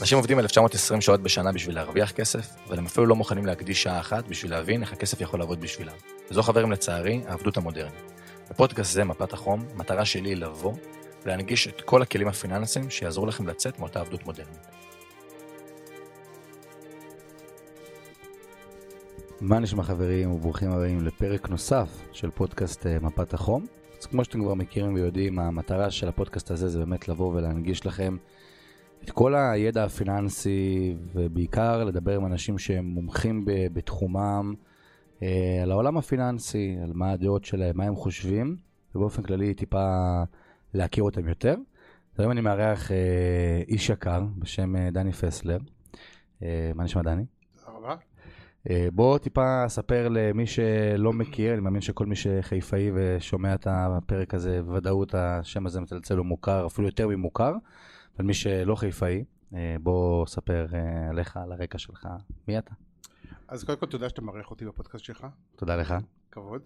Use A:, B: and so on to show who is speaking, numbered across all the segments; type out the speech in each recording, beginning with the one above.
A: אנשים עובדים 1920 שעות בשנה בשביל להרוויח כסף, אבל הם אפילו לא מוכנים להקדיש שעה אחת בשביל להבין איך הכסף יכול לעבוד בשבילם. וזו חברים לצערי, העבדות המודרנית. בפודקאסט זה, מפת החום, המטרה שלי היא לבוא ולהנגיש את כל הכלים הפיננסיים שיעזרו לכם לצאת מאותה עבדות מודרנית.
B: מה נשמע חברים וברוכים הבאים לפרק נוסף של פודקאסט אה, מפת החום. אז כמו שאתם כבר מכירים ויודעים, המטרה של הפודקאסט הזה זה באמת לבוא ולהנגיש לכם את כל הידע הפיננסי ובעיקר לדבר עם אנשים שהם מומחים ב- בתחומם אה, על העולם הפיננסי, על מה הדעות שלהם, מה הם חושבים, ובאופן כללי טיפה להכיר אותם יותר. אז היום אני מארח אה, איש יקר בשם אה, דני פסלר. אה, מה נשמע דני?
C: תודה רבה.
B: אה, בוא טיפה ספר למי שלא מכיר, אני מאמין שכל מי שחיפאי ושומע את הפרק הזה, בוודאות השם הזה מצלצל הוא מוכר, אפילו יותר ממוכר, אבל מי שלא חיפאי, אה, בוא ספר אה, עליך, על הרקע שלך, מי אתה?
C: אז קודם כל תודה שאתה מארח אותי בפודקאסט שלך,
B: תודה לך.
C: כבוד.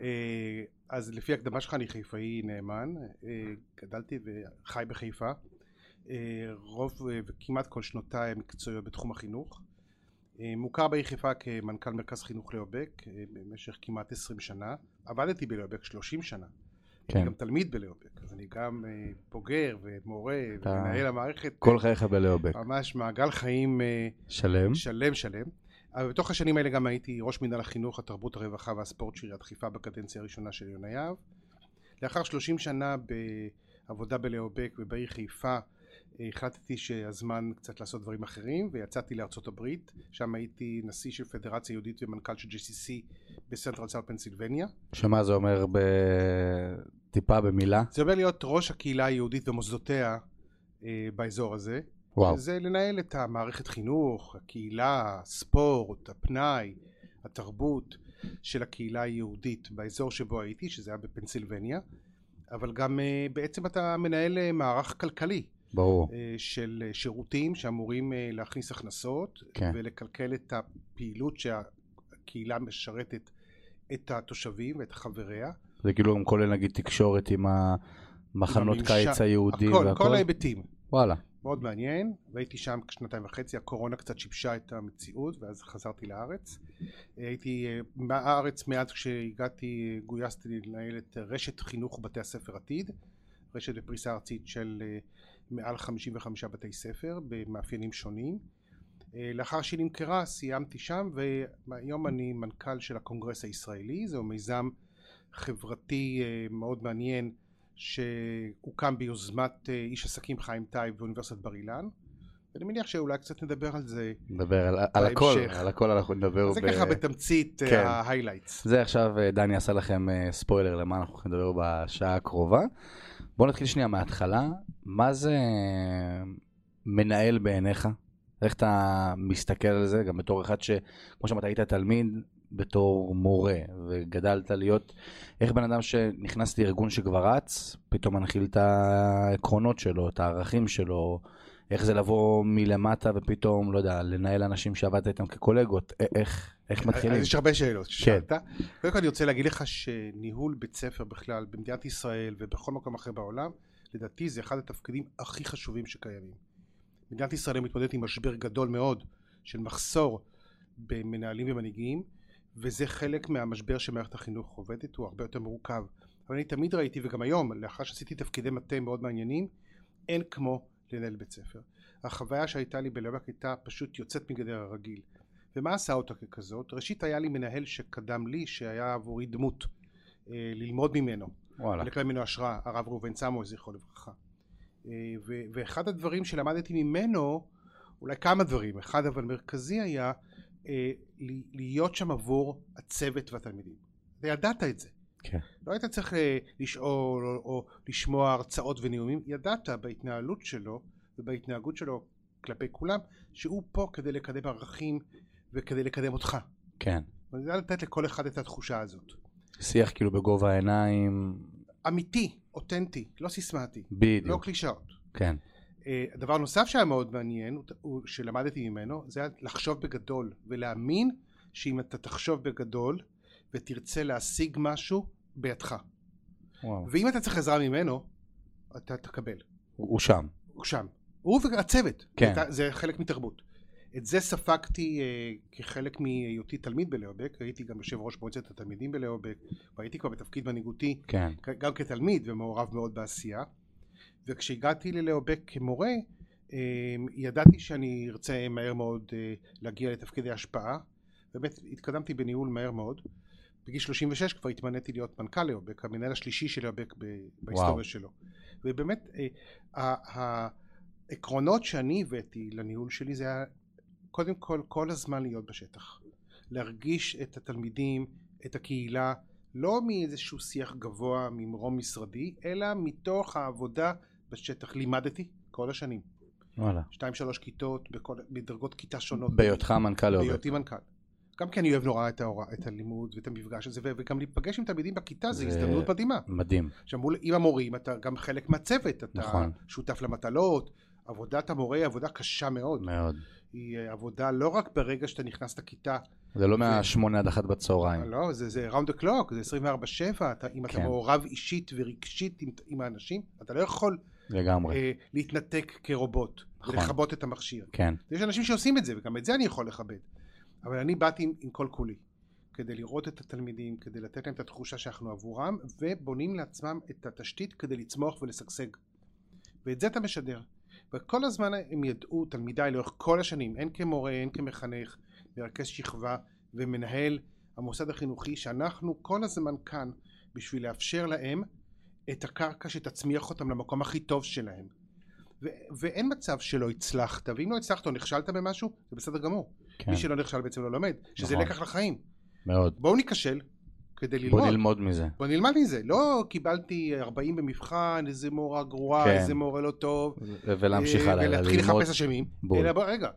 C: אה, אז לפי ההקדמה שלך אני חיפאי נאמן, אה, גדלתי וחי בחיפה. אה, רוב אה, וכמעט כל שנותיי המקצועיות בתחום החינוך. אה, מוכר בעיר חיפה כמנכ"ל מרכז חינוך ליאובק אה, במשך כמעט 20 שנה. עבדתי בליאובק 30 שנה. אני
B: כן,
C: גם תלמיד בליאובק, אז אני גם אה, בוגר ומורה
B: אתה-
C: ומנהל המערכת.
B: כל חייך בלאובק.
C: ממש מעגל חיים אה,
B: שלם.
C: שלם שלם. אבל בתוך השנים האלה גם הייתי ראש מינהל החינוך, התרבות, הרווחה והספורט של עיריית חיפה בקדנציה הראשונה של יונה יהב. לאחר 30 שנה בעבודה בלהובק ובעיר חיפה אה, החלטתי שהזמן קצת לעשות דברים אחרים ויצאתי לארצות הברית, שם הייתי נשיא של פדרציה יהודית ומנכ"ל של GCC בסנטרל סאר פנסילבניה.
B: שמה זה אומר ב- טיפה במילה?
C: זה אומר להיות ראש הקהילה היהודית ומוסדותיה אה, באזור הזה.
B: וואו,
C: זה לנהל את המערכת חינוך, הקהילה, הספורט, הפנאי, התרבות של הקהילה היהודית באזור שבו הייתי, שזה היה בפנסילבניה, אבל גם אה, בעצם אתה מנהל אה, מערך כלכלי
B: ברור.
C: אה, של אה, שירותים שאמורים אה, להכניס הכנסות
B: כן.
C: ולקלקל את הפעילות שהקהילה משרתת את התושבים ואת חבריה.
B: זה כאילו גם כולל נגיד תקשורת עם המחנות
C: עם הממשל-
B: קיץ היהודים
C: הכל,
B: והכל?
C: כל ההיבטים.
B: וואלה,
C: מאוד מעניין, והייתי שם שנתיים וחצי, הקורונה קצת שיבשה את המציאות ואז חזרתי לארץ. הייתי אה, מהארץ מאז כשהגעתי, אה, גויסתי לנהל את אה, רשת חינוך בתי הספר עתיד, רשת בפריסה ארצית של אה, מעל 55 בתי ספר במאפיינים שונים. אה, לאחר שהיא נמכרה סיימתי שם והיום אני מנכ"ל של הקונגרס הישראלי, זהו מיזם חברתי אה, מאוד מעניין שהוקם ביוזמת אה, איש עסקים חיים טייב באוניברסיטת בר אילן ואני מניח שאולי קצת נדבר על זה,
B: נדבר על- על הכל,
C: בהמשך.
B: על הכל אנחנו נדבר.
C: זה
B: ב-
C: ככה בתמצית
B: כן.
C: כן. ההיילייטס.
B: זה עכשיו אה, דני עשה לכם אה, ספוילר למה אנחנו הולכים לדבר בשעה הקרובה. בואו נתחיל שנייה מההתחלה. מה זה אה, מנהל בעיניך? איך אתה מסתכל על זה? גם בתור אחד שכמו שאמרת היית תלמיד, בתור מורה, וגדלת להיות... איך בן אדם שנכנס לארגון שכבר רץ, פתאום מנחיל את העקרונות שלו, את הערכים שלו, איך זה לבוא מלמטה ופתאום, לא יודע, לנהל אנשים שעבדת איתם כקולגות, א- איך, איך מתחילים? כן.
C: אז יש הרבה שאלות ששאלת. קודם כל אני רוצה להגיד לך שניהול בית ספר בכלל במדינת ישראל ובכל מקום אחר בעולם, לדעתי זה אחד התפקידים הכי חשובים שקיימים. מדינת ישראל היום מתמודדת עם משבר גדול מאוד של מחסור במנהלים ומנהיגים, וזה חלק מהמשבר שמערכת החינוך עובדת, הוא הרבה יותר מורכב. אבל אני תמיד ראיתי, וגם היום, לאחר שעשיתי תפקידי מטה מאוד מעניינים, אין כמו לנהל בית ספר. החוויה שהייתה לי בלבק הייתה פשוט יוצאת מגדר הרגיל. ומה עשה אותה ככזאת? ראשית היה לי מנהל שקדם לי, שהיה עבורי דמות אה, ללמוד ממנו,
B: וואלה.
C: לקבל ממנו השראה, הרב ראובן סמואל, זכרו לברכה. אה, ו- ואחד הדברים שלמדתי ממנו, אולי כמה דברים, אחד אבל מרכזי היה אה, ל- להיות שם עבור הצוות והתלמידים. וידעת את זה.
B: כן.
C: לא היית צריך אה, לשאול או, או לשמוע הרצאות ונאומים, ידעת בהתנהלות שלו ובהתנהגות שלו כלפי כולם, שהוא פה כדי לקדם ערכים וכדי לקדם אותך.
B: כן.
C: אני יודע לתת לכל אחד את התחושה הזאת.
B: שיח כאילו בגובה העיניים,
C: אמיתי, אותנטי, לא סיסמאתי, לא
B: בדיוק,
C: קלישאות.
B: כן.
C: אה, דבר נוסף שהיה מאוד מעניין, הוא- הוא- שלמדתי ממנו, זה היה לחשוב בגדול ולהאמין שאם אתה תחשוב בגדול ותרצה להשיג משהו, בידך.
B: וואו.
C: ואם אתה צריך עזרה ממנו, אתה תקבל.
B: הוא הוא שם.
C: הוא שם. הוא והצוות.
B: כן.
C: הייתה- זה חלק מתרבות. את זה ספגתי אה, כחלק מהיותי תלמיד בלהובק, הייתי גם יושב ראש מועצת התלמידים בלהובק, והייתי כבר בתפקיד מנהיגותי
B: כן.
C: גם כתלמיד ומעורב מאוד בעשייה וכשהגעתי ללאובק כמורה אה, ידעתי שאני ארצה מהר מאוד אה, להגיע לתפקידי השפעה באמת התקדמתי בניהול מהר מאוד בגיל 36 כבר התמניתי להיות מנכ"ל לאובק המנהל השלישי של לאובק ב- בהיסטוריה שלו ובאמת אה, ה- העקרונות שאני הבאתי לניהול שלי זה היה קודם כל כל הזמן להיות בשטח להרגיש את התלמידים את הקהילה לא מאיזשהו שיח גבוה ממרום משרדי, אלא מתוך העבודה בשטח. לימדתי כל השנים.
B: וואלה.
C: שתיים, שלוש כיתות, בכל, בדרגות כיתה שונות.
B: בהיותך לא מנכ"ל לאובק.
C: בהיותי מנכ"ל. גם כי אני אוהב נורא את, ההורא, את הלימוד ואת המפגש הזה, ו- וגם להיפגש עם תלמידים בכיתה זה
B: זה-
C: הזדמנות מדהימה.
B: מדהים.
C: עכשיו מול, עם המורים אתה גם חלק מהצוות, אתה
B: נכון.
C: שותף למטלות, עבודת המורה היא עבודה קשה מאוד.
B: מאוד.
C: היא אה, עבודה לא רק ברגע שאתה נכנס לכיתה,
B: זה לא מהשמונה עד אחת בצהריים.
C: לא, זה, זה round the clock, זה 24-7, אתה, אם אתה
B: כן.
C: מעורב אישית ורגשית עם, עם האנשים, אתה לא יכול
B: לגמרי.
C: אה, להתנתק כרובוט,
B: נכון.
C: ולכבות את המכשיר.
B: כן.
C: יש אנשים שעושים את זה, וגם את זה אני יכול לכבד. אבל אני באתי עם, עם כל כולי, כדי לראות את התלמידים, כדי לתת להם את התחושה שאנחנו עבורם, ובונים לעצמם את התשתית כדי לצמוח ולשגשג. ואת זה אתה משדר. וכל הזמן הם ידעו, תלמידיי לאורך כל השנים, הן כמורה, הן כמחנך, מרכז שכבה ומנהל המוסד החינוכי, שאנחנו כל הזמן כאן בשביל לאפשר להם את הקרקע שתצמיח אותם למקום הכי טוב שלהם. ו- ואין מצב שלא הצלחת, ואם לא הצלחת או נכשלת במשהו, זה בסדר גמור.
B: כן.
C: מי שלא נכשל בעצם לא לומד, שזה
B: נכון.
C: לקח לחיים.
B: מאוד.
C: בואו ניכשל כדי ללמוד.
B: בוא נלמוד מזה.
C: בוא נלמד מזה. לא קיבלתי 40 במבחן, איזה מורה גרועה,
B: כן.
C: איזה מורה לא טוב.
B: ו- ולהמשיך
C: אה,
B: הלאה.
C: ולהתחיל
B: ללמוד.
C: לחפש אשמים.
B: בול.
C: אלא בוא, רגע,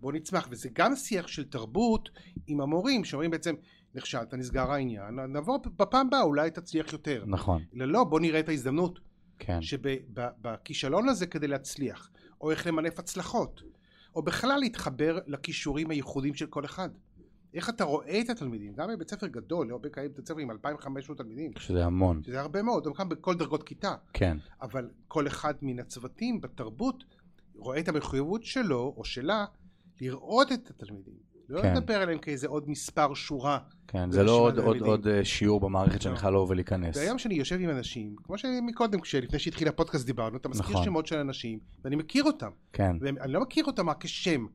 C: בוא נצמח. וזה גם שיח של תרבות עם המורים, שאומרים בעצם, נכשלת, נסגר העניין, נבוא בפעם הבאה, אולי תצליח יותר.
B: נכון.
C: אלא לא, בוא נראה את ההזדמנות.
B: כן.
C: שבכישלון הזה כדי להצליח, או איך למנף הצלחות, או בכלל להתחבר לכישורים הייחודיים של כל אחד. איך אתה רואה את התלמידים, גם בבית ספר גדול, לא בקיים בית ספר עם 2,500 תלמידים,
B: שזה המון.
C: שזה הרבה מאוד, גם כאן בכל דרגות כיתה,
B: כן.
C: אבל כל אחד מן הצוותים בתרבות רואה את המחויבות שלו או שלה לראות את התלמידים. לא
B: כן.
C: לדבר עליהם כאיזה עוד מספר שורה.
B: כן. זה לא עוד-
C: ברשימת
B: עוד-
C: הילדים.
B: עוד אה, שיעור במערכת שאני
C: לא.
B: חייב לבוא ולהיכנס.
C: והיום שאני יושב עם אנשים, כמו שמקודם, כשלפני שהתחיל הפודקאסט דיברנו, אתה מזכיר
B: נכון.
C: שמות של אנשים, ואני מכיר אותם.
B: כן.
C: ואני לא מכיר אותם רק כשם.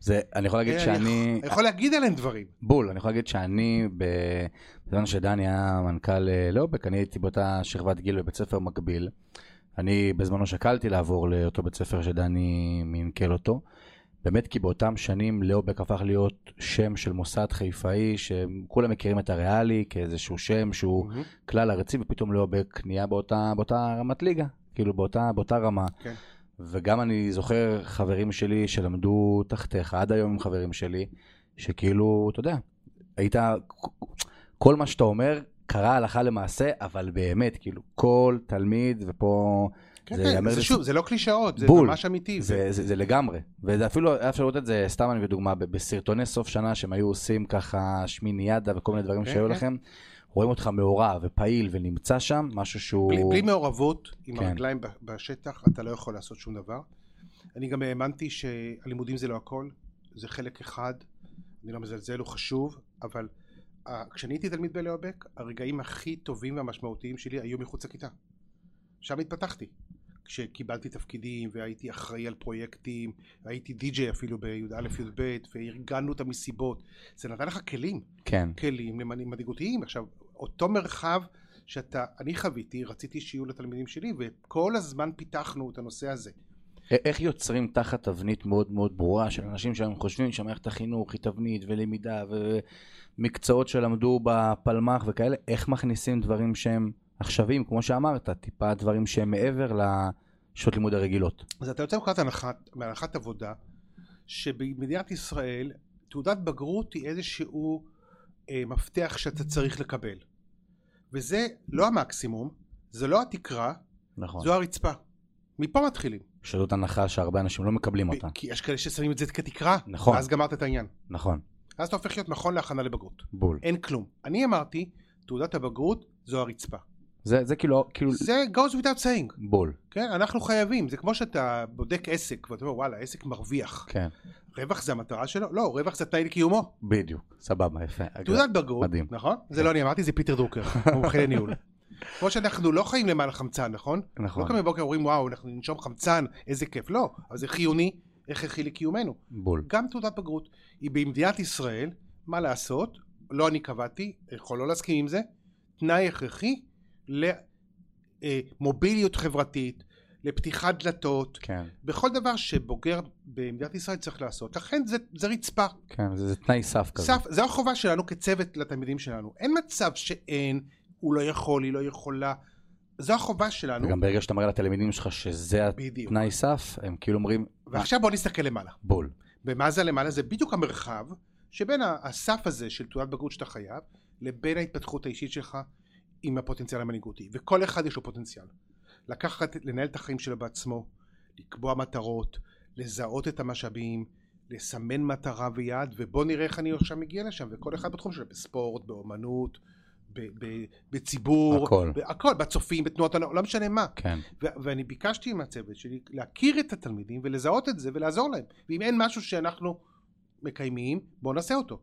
B: זה, אני יכול להגיד
C: אה,
B: שאני...
C: אני יכול להגיד עליהם דברים.
B: בול, אני יכול להגיד שאני, ב- בזמן שדני היה מנכ"ל אה, לאובק, אני הייתי באותה שכבת גיל בבית ספר מקביל. אני בזמנו שקלתי לעבור לאותו בית ספר שדני מנקל אותו. באמת כי באותם שנים לאובק הפך להיות שם של מוסד חיפאי, שכולם מכירים את הריאלי כאיזשהו שם שהוא
C: אוקיי?
B: כלל ארצי, ופתאום לאובק נהיה באותה, באותה רמת ליגה, כאילו באותה, באותה רמה.
C: כן.
B: וגם אני זוכר חברים שלי שלמדו תחתיך, עד היום הם חברים שלי, שכאילו, אתה יודע, היית, כל מה שאתה אומר קרה הלכה למעשה, אבל באמת, כאילו, כל תלמיד, ופה
C: כן,
B: זה
C: כן,
B: ייאמר
C: זה
B: לזכות-
C: שוב, זה לא קלישאות, זה
B: בול.
C: ממש אמיתי. זה-
B: זה, זה, זה לגמרי, וזה אפילו היה אפשר לראות את זה, סתם אני בדוגמה, ב- בסרטוני סוף שנה שהם היו עושים ככה שמיניאדה וכל מיני דברים
C: כן,
B: שהיו
C: כן.
B: לכם, רואים אותך מעורב ופעיל ונמצא שם, משהו שהוא...
C: בלי בלי מעורבות, עם
B: כן.
C: הרגליים ב- בשטח, אתה לא יכול לעשות שום דבר. אני גם האמנתי שהלימודים זה לא הכל, זה חלק אחד, אני לא מזלזל, הוא חשוב, אבל אה, כשאני הייתי תלמיד בלהובק, הרגעים הכי טובים והמשמעותיים שלי היו מחוץ לכיתה. שם התפתחתי. כשקיבלתי תפקידים והייתי אחראי על פרויקטים, הייתי די-ג'יי אפילו בי"א-י"ב, וארגנו את המסיבות, זה נתן לך כלים.
B: כן,
C: כלים למנ- מנהיגותיים. עכשיו, אותו מרחב שאתה, אני חוויתי, רציתי שיהיו לתלמידים שלי, וכל הזמן פיתחנו את הנושא הזה.
B: א- איך יוצרים תחת תבנית מאוד מאוד ברורה של אנשים שהם חושבים שמערכת החינוך היא תבנית ולמידה ומקצועות שלמדו בפלמ"ח וכאלה, איך מכניסים דברים שהם עכשוויים, כמו שאמרת, טיפה דברים שהם מעבר לשעות לימוד הרגילות.
C: אז אתה יוצא מנקודת הנחת, מהנחת עבודה, שבמדינת ישראל תעודת בגרות היא איזשהו אה, מפתח שאתה צריך לקבל. וזה לא המקסימום, זה לא התקרה,
B: נכון.
C: זו הרצפה. מפה מתחילים.
B: שזאת הנחה שהרבה אנשים לא מקבלים אותה.
C: כי יש כאלה ששמים את זה כתקרה,
B: נכון.
C: ואז גמרת את העניין.
B: נכון,
C: אז אתה הופך להיות מכון להכנה לבגרות.
B: בול.
C: אין כלום. אני אמרתי, תעודת הבגרות זו הרצפה.
B: זה, זה כאילו, כאילו
C: זה goes without saying,
B: בול.
C: כן? אנחנו חייבים, זה כמו שאתה בודק עסק, ואתה אומר וואלה, העסק מרוויח.
B: כן.
C: רווח זה המטרה שלו? לא, רווח זה תנאי לקיומו.
B: בדיוק. סבבה, יפה.
C: תעודת בגרות,
B: מדהים.
C: נכון? זה לא אני אמרתי, זה פיטר דרוקר, מומחה לניהול. כמו שאנחנו לא חיים למען החמצן, נכון?
B: נכון.
C: לא קמים בבוקר אומרים וואו, אנחנו ננשום חמצן, איזה כיף. לא, אבל זה חיוני, הכרחי לקיומנו.
B: בול.
C: גם תעודת בגרות. היא במדינת ישראל, מה לעשות, לא אני קבעתי, יכול לא להסכים עם זה, תנאי הכרחי למוביליות חברתית, לפתיחת דלתות,
B: כן,
C: בכל דבר שבוגר במדינת ישראל צריך לעשות. לכן זה, זה רצפה.
B: כן, זה, זה תנאי סף כזה.
C: סף, זו החובה שלנו כצוות לתלמידים שלנו. אין מצב שאין, הוא לא יכול, היא לא יכולה. זו החובה שלנו.
B: וגם ברגע שאתה מראה לתלמידים שלך שזה
C: בדיוק.
B: התנאי סף, הם כאילו אומרים,
C: ועכשיו בוא נסתכל למעלה.
B: בול.
C: ומה זה למעלה? זה בדיוק המרחב שבין ה- הסף הזה של תעודת בגרות שאתה חייב, לבין ההתפתחות האישית שלך עם הפוטנציאל המנהיגותי. וכל אחד יש לו פוטנציאל. לקחת, לנהל את החיים שלו בעצמו, לקבוע מטרות, לזהות את המשאבים, לסמן מטרה ויעד, ובוא נראה איך אני עכשיו מגיע לשם, וכל אחד בתחום שלו, בספורט, באומנות, ב- ב- בציבור,
B: הכל.
C: הכל, בצופים, בתנועות הנוער, לא משנה מה.
B: כן,
C: ו- ואני ביקשתי מהצוות שלי להכיר את התלמידים ולזהות את זה ולעזור להם. ואם אין משהו שאנחנו מקיימים, בואו נעשה אותו.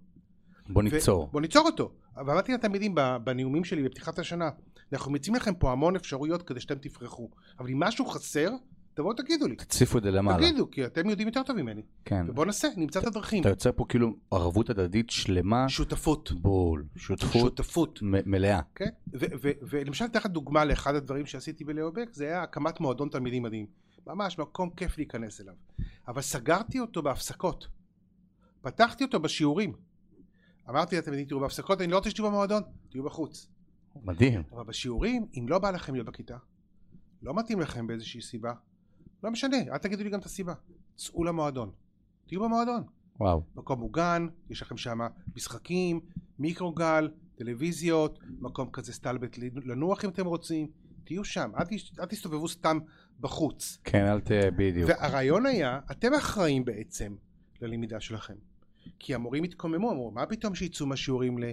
B: בוא
C: ו-
B: ניצור.
C: בואו ניצור אותו. אבל אמרתי לתלמידים ב- בנאומים שלי בפתיחת השנה, אנחנו מציעים לכם פה המון אפשרויות כדי שאתם תפרחו. אבל אם משהו חסר, תבואו תגידו לי.
B: תציפו את זה למעלה.
C: תגידו, כי אתם יודעים יותר טוב ממני.
B: כן.
C: ובואו נעשה, נמצא את הדרכים.
B: אתה יוצר פה כאילו ערבות הדדית שלמה,
C: שותפות.
B: בול. שותפות
C: שותפות.
B: מ- מלאה.
C: כן, ו- ו- ולמשל אתן לך דוגמה לאחד הדברים שעשיתי בלאובק, זה היה הקמת מועדון תלמידים מדהים. ממש מקום כיף להיכנס אליו. אבל סגרתי אותו בהפסקות. פתחתי אותו בשיעורים. אמרתי לתלמידים, תראו בהפסקות, אני לא רוצה שתהיו במועדון, תהיו בחוץ.
B: מדהים.
C: אבל בשיעורים, אם לא בא לכם להיות בכיתה, לא מתאים לכם באיזושהי סיבה, לא משנה, אל תגידו לי גם את הסיבה. צאו למועדון. תהיו במועדון.
B: וואו.
C: מקום מוגן, יש לכם שם משחקים, מיקרוגל, טלוויזיות, מקום כזה סטלבט לנוח אם אתם רוצים, תהיו שם, אל, תש... אל תסתובבו סתם בחוץ.
B: כן, אל ת... בדיוק.
C: והרעיון היה, אתם אחראים בעצם ללמידה שלכם. כי המורים התקוממו, אמרו, מה פתאום שיצאו מהשיעורים ל...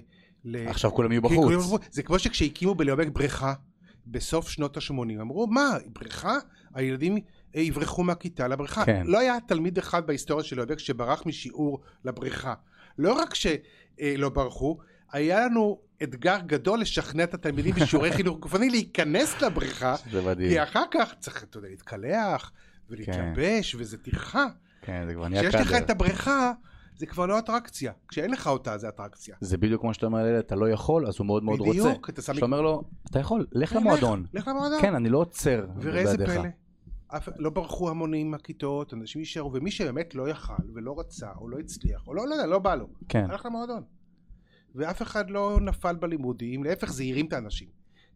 C: ל...
B: עכשיו כולם יהיו
C: כי כולם
B: בחוץ.
C: אמרו, זה כמו שכשהקימו בליאובק בריכה בסוף שנות ה-80, אמרו מה, בריכה? הילדים אה, יברחו מהכיתה לבריכה.
B: כן.
C: לא היה תלמיד אחד בהיסטוריה של ליאובק שברח משיעור לבריכה. לא רק שלא ברחו, היה לנו אתגר גדול לשכנע את התלמידים בשיעורי חינוך גופני להיכנס לבריכה,
B: זה מדהים.
C: כי אחר כך צריך, אתה יודע, להתקלח ולהתלבש, וזה טרחה.
B: כן, זה כבר נהיה
C: כשיש לך
B: קאדר.
C: את הבריכה, זה כבר לא אטרקציה. כשאין לך אותה, זה אטרקציה.
B: זה בדיוק כמו שאתה אומר לילד, אתה לא יכול, אז הוא מאוד מאוד רוצה.
C: בדיוק, אתה שם
B: שאתה אומר לו, אתה יכול, לך
C: לך,
B: למועדון.
C: לך למועדון.
B: כן, אני לא עוצר
C: וראה איזה
B: בעדיך.
C: פלא, אף, לא ברחו המונים מהכיתות, אנשים יישארו, ומי שבאמת לא יכל ולא רצה או לא הצליח, או לא, לא יודע, לא בא לו,
B: כן,
C: הלך למועדון. ואף אחד לא נפל בלימודים, להפך זה הרים את האנשים,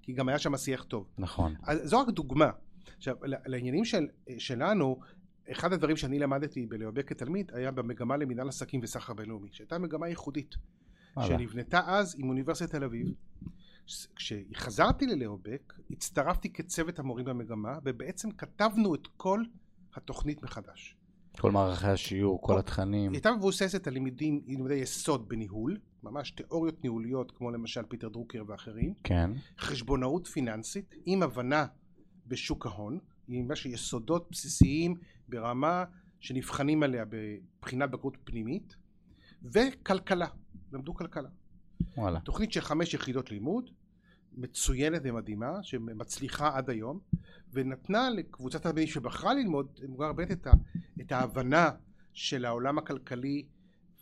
C: כי גם היה שם שיח טוב.
B: נכון.
C: אז זו רק דוגמה. עכשיו, ל- לעניינים של, אה, שלנו, אחד הדברים שאני למדתי בלהיאבק כתלמיד היה במגמה למינהל עסקים וסחר בינלאומי, שהייתה מגמה ייחודית.
B: וואלה.
C: שנבנתה אז עם אוניברסיטת תל אביב. ש- כשחזרתי ללאובק, הצטרפתי כצוות המורים במגמה, ובעצם כתבנו את כל התוכנית מחדש.
B: כל מערכי השיעור, כל התכנים.
C: היא הייתה מבוססת על לימודים, לימודי יסוד בניהול, ממש תיאוריות ניהוליות, כמו למשל פיטר דרוקר ואחרים,
B: כן,
C: חשבונאות פיננסית, עם הבנה בשוק ההון, עם ממש יסודות בסיסיים ברמה שנבחנים עליה בבחינת בגרות פנימית, וכלכלה, למדו כלכלה.
B: וואלה.
C: תוכנית של חמש יחידות לימוד, מצוינת ומדהימה, שמצליחה עד היום, ונתנה לקבוצת התלמידים שבחרה ללמוד מוגר ב' את, ה- את ההבנה של העולם הכלכלי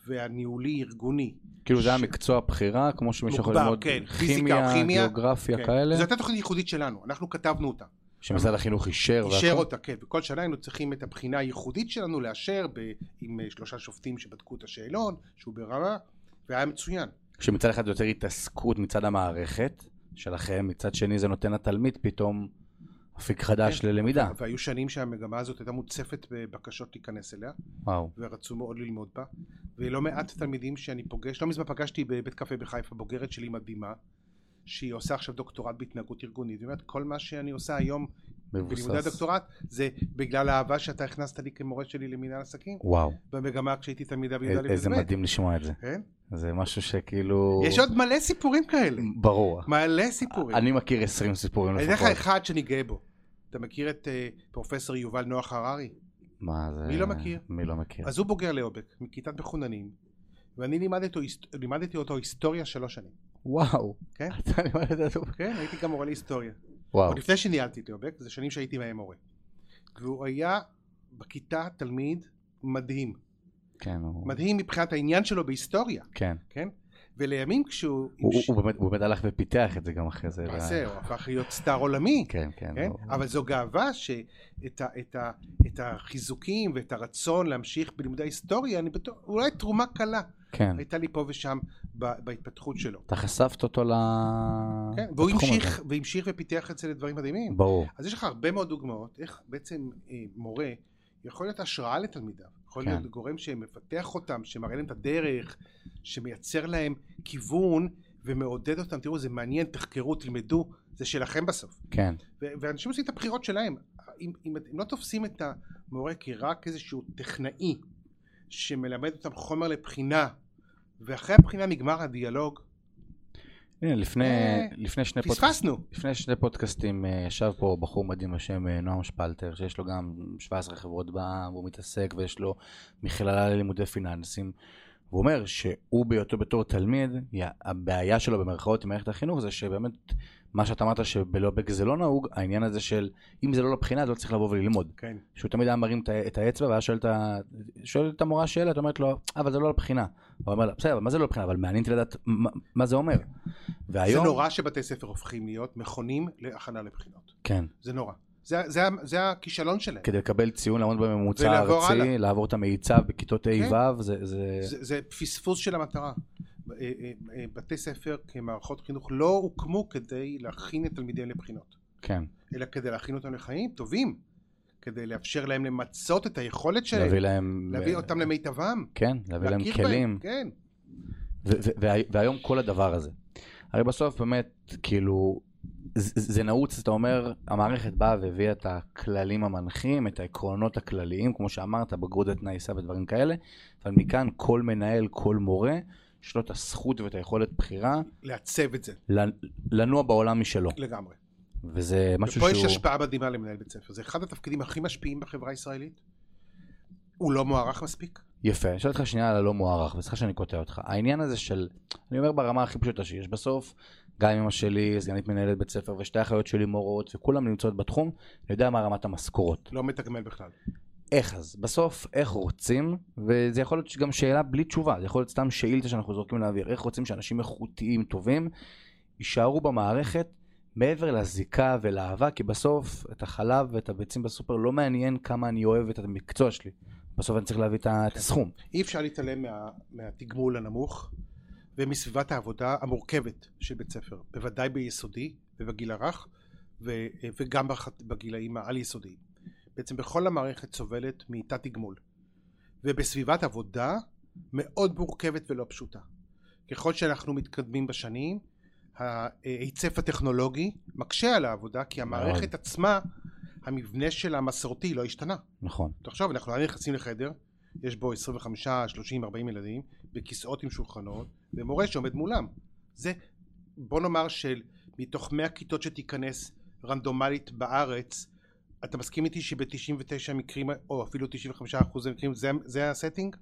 C: והניהולי ארגוני.
B: כאילו זה היה
C: ש-
B: מקצוע בחירה, כמו שמישהו יכול
C: מוגבר,
B: ללמוד
C: כן. פיזיקה,
B: כימיה,
C: כימיה,
B: גיאוגרפיה
C: כן.
B: כאלה,
C: זו הייתה תוכנית ייחודית שלנו, אנחנו כתבנו אותה.
B: שמשרד החינוך אישר
C: אישר
B: והכל.
C: אותה, כן, וכל שנה היינו צריכים את הבחינה הייחודית שלנו לאשר ב- עם אה, שלושה שופטים שבדקו את השאלון, שהוא ברמה, והיה מצוין.
B: שמצד אחד זה יוצר התעסקות מצד המערכת שלכם, מצד שני זה נותן לתלמיד פתאום אפיק חדש
C: כן.
B: ללמידה.
C: והיו שנים שהמגמה הזאת הייתה מוצפת בבקשות להיכנס אליה.
B: וואו.
C: ורצו מאוד ללמוד בה ולא מעט תלמידים שאני פוגש לא מזמן פגשתי בבית קפה בחיפה בוגרת שלי מדהימה שהיא עושה עכשיו דוקטורט בהתנהגות ארגונית היא אומרת כל מה שאני עושה היום בלימודי
B: מבוסס.
C: הדוקטורט זה בגלל האהבה שאתה הכנסת לי כמורה שלי למינהל עסקים
B: וואו. אה,
C: במגמה כשהייתי תלמידה בי"א
B: איזה
C: וב'.
B: מדהים לשמוע את זה.
C: כן?
B: זה משהו שכאילו...
C: יש עוד מלא סיפורים כאלה.
B: ברור.
C: מלא סיפורים.
B: אני לא מכיר 20 סיפורים
C: אני אתן לך
B: לפחות.
C: אחד שאני גאה בו. אתה מכיר את אה, פרופסור יובל נוח הררי?
B: מה זה...
C: מי לא מכיר?
B: מי לא מכיר?
C: אז הוא בוגר לאובק, מכיתת מחוננים, ואני לימדתי, לימדתי אותו היסטוריה שלוש שנים.
B: וואו.
C: כן?
B: אתה לימדת אותו.
C: כן, הייתי גם מורה להיסטוריה.
B: וואו.
C: עוד לפני שניהלתי את לאובק, זה שנים שהייתי מהם מורה. והוא היה בכיתה תלמיד מדהים.
B: כן, הוא...
C: מדהים מבחינת העניין שלו בהיסטוריה,
B: כן.
C: כן? ולימים כשהוא...
B: הוא- הוא- הוא באמת- הוא באמת הלך ופיתח את זה גם אחרי זה.
C: למעשה,
B: ל-
C: הוא הפך להיות סטאר עולמי.
B: כן, כן.
C: כן?
B: הוא-
C: אבל זו גאווה שאת ה, את ה, את החיזוקים ואת הרצון להמשיך בלימודי ההיסטוריה, אני בטוח, אולי תרומה קלה
B: כן.
C: הייתה לי פה ושם ב, בהתפתחות שלו.
B: אתה חשפת אותו ל...
C: כן? והוא
B: לתחום
C: המשיך,
B: אה, הזה.
C: והמשיך ופיתח את זה לדברים מדהימים.
B: ברור.
C: אז יש לך הרבה מאוד דוגמאות איך בעצם אה, מורה יכול להיות השראה לתלמידיו, יכול
B: כן.
C: כן. להיות גורם שמפתח אותם, שמראה להם את הדרך, שמייצר להם כיוון ומעודד אותם, תראו זה מעניין, תחקרו, תלמדו, זה שלכם בסוף.
B: כן.
C: ו- ואנשים עושים את הבחירות שלהם. אם, אם, את- אם לא תופסים את המורה כרק איזשהו טכנאי שמלמד אותם חומר לבחינה, ואחרי הבחינה נגמר הדיאלוג,
B: הנה, לפני,
C: אה,
B: לפני שני פודקאסטים.
C: פספסנו.
B: לפני שני פודקאסטים אה, ישב פה בחור מדהים בשם אה, נועם שפלטר, שיש לו גם 17 חברות בעם, הוא מתעסק ויש לו מכללה ללימודי פיננסים. הוא אומר שהוא בהיותו בתור תלמיד, יא- הבעיה שלו במרכאות עם מערכת החינוך זה שבאמת מה שאתה אמרת שבלובק זה לא נהוג, העניין הזה של אם זה לא לבחינה אז לא צריך לבוא וללמוד.
C: כן.
B: שהוא תמיד היה מרים את ה- את האצבע והיה שואל את, ה... שואל את המורה שאלה, את אומרת לו, אבל זה לא לבחינה. הוא אומר לה, בסדר, אבל מה זה לא לבחינה? אבל מעניין אותי לדעת מה, מה זה אומר. והיום...
C: זה נורא שבתי ספר הופכים להיות מכונים להכנה לבחינות.
B: כן.
C: זה נורא. זה, זה, ה- זה הכישלון שלהם.
B: כדי לקבל ציון, לעמוד בממוצע
C: ולעבור
B: הארצי,
C: הלאה. כן.
B: לעבור את המיצב בכיתות ה'-ו', זה... זה-
C: זה, זה פספוס של המטרה. אה, אה, אה, בתי ספר כמערכות חינוך לא הוקמו כדי להכין את תלמידיהם לבחינות.
B: כן,
C: אלא כדי להכין אותם לחיים טובים, כדי לאפשר להם למצות את היכולת שלהם,
B: להביא להם...
C: להביא אותם למיטבם,
B: כן, להביא להם
C: להכיר
B: כלים.
C: בהם, כן,
B: ו- ו- וה- והיום כל הדבר הזה. הרי בסוף באמת, כאילו, זה, זה נעוץ, אתה אומר, המערכת באה והביאה את הכללים המנחים, את העקרונות הכלליים, כמו שאמרת, בגרות ותנאי סף ודברים כאלה, אבל מכאן כל מנהל, כל מורה, יש לו את הזכות ואת היכולת בחירה
C: לעצב את זה
B: לנ- לנוע בעולם משלו.
C: לגמרי.
B: וזה משהו
C: ופה יש
B: שהוא...
C: השפעה מדהימה למנהל בית ספר, זה אחד התפקידים הכי משפיעים בחברה הישראלית. הוא לא מוערך מספיק,
B: יפה, אני שואל אותך שנייה על הלא מוערך, וסליחה שאני קוטע אותך. העניין הזה של, אני אומר ברמה הכי פשוטה שיש, בסוף, גם אמא שלי, סגנית מנהלת בית ספר, ושתי אחיות שלי מורות, וכולם נמצאות בתחום, אני יודע מה רמת המשכורות.
C: לא מתגמל בכלל.
B: איך אז? בסוף, איך רוצים, וזה יכול להיות גם שאלה בלי תשובה, זה יכול להיות סתם שאילתה שאנחנו זורקים לאוויר, איך רוצים שאנשים איכותיים, טובים, יישארו במערכת מעבר לזיקה ולאהבה, כי בסוף את החלב ואת הביצים בסופר לא מעניין כמה אני אוהב את המקצוע שלי. בסוף אני צריך להביא את ה- את הסכום.
C: אי אפשר להתעלם מה, מהתגמול הנמוך ומסביבת העבודה המורכבת של בית ספר, בוודאי ביסודי ובגיל הרך ו, וגם בח, בגילאים העל יסודיים. בעצם בכל המערכת סובלת מתת תגמול ובסביבת עבודה מאוד מורכבת ולא פשוטה. ככל שאנחנו מתקדמים בשנים ההיצף הטכנולוגי מקשה על העבודה כי המערכת עצמה המבנה שלה המסורתי לא השתנה
B: נכון.
C: תחשוב, אנחנו עדיין נכנסים לחדר, יש בו 25, 30, 40 ילדים, בכיסאות עם שולחנות, ומורה שעומד מולם. זה, בוא נאמר שמתוך 100 כיתות שתיכנס רנדומלית בארץ, אתה מסכים איתי שב-99 מקרים, או אפילו 95 אחוז המקרים, זה, זה הסטינג?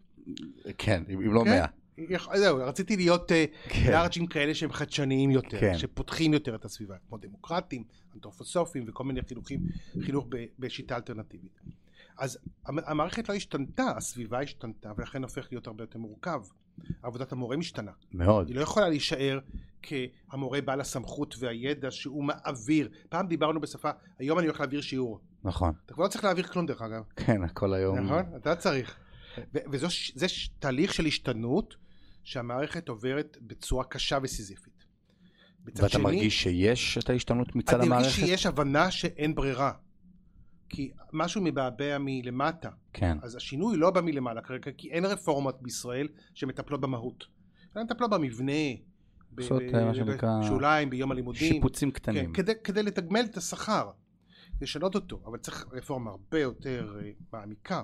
B: כן, אם לא
C: כן?
B: מאה.
C: יכ- זהו, רציתי להיות אה, לארג'ים כאלה שהם חדשניים יותר,
B: כן.
C: שפותחים יותר את הסביבה, כמו דמוקרטים, אנתרופוסופים וכל מיני חינוכים, חינוך ב- בשיטה אלטרנטיבית. אז המ- המערכת לא השתנתה, הסביבה השתנתה, ולכן הופך להיות הרבה יותר מורכב. עבודת המורה משתנה.
B: מאוד.
C: היא לא יכולה להישאר כהמורה בעל הסמכות והידע שהוא מעביר. פעם דיברנו בשפה, היום אני הולך להעביר שיעור.
B: נכון.
C: אתה כבר לא צריך להעביר כלום דרך אגב.
B: כן, הכל היום.
C: נכון? אתה צריך.
B: כן.
C: וזה ש- תהליך של השתנות שהמערכת עוברת בצורה קשה וסיזיפית. מצד
B: ואתה
C: שני,
B: מרגיש שיש את ההשתנות מצד
C: אני מרגיש
B: המערכת?
C: שיש הבנה שאין ברירה. כי משהו מבעבע מלמטה.
B: כן,
C: אז השינוי לא בא מלמעלה כרגע, כי אין רפורמות בישראל שמטפלות במהות. הן מטפלות במבנה, ב-
B: עושות,
C: ב-
B: אה, מה שנקרא,
C: בשוליים, ביום הלימודים.
B: שיפוצים
C: כן,
B: קטנים.
C: כדי, כדי לתגמל את השכר, לשנות אותו, אבל צריך רפורמה הרבה יותר אה, מעמיקה.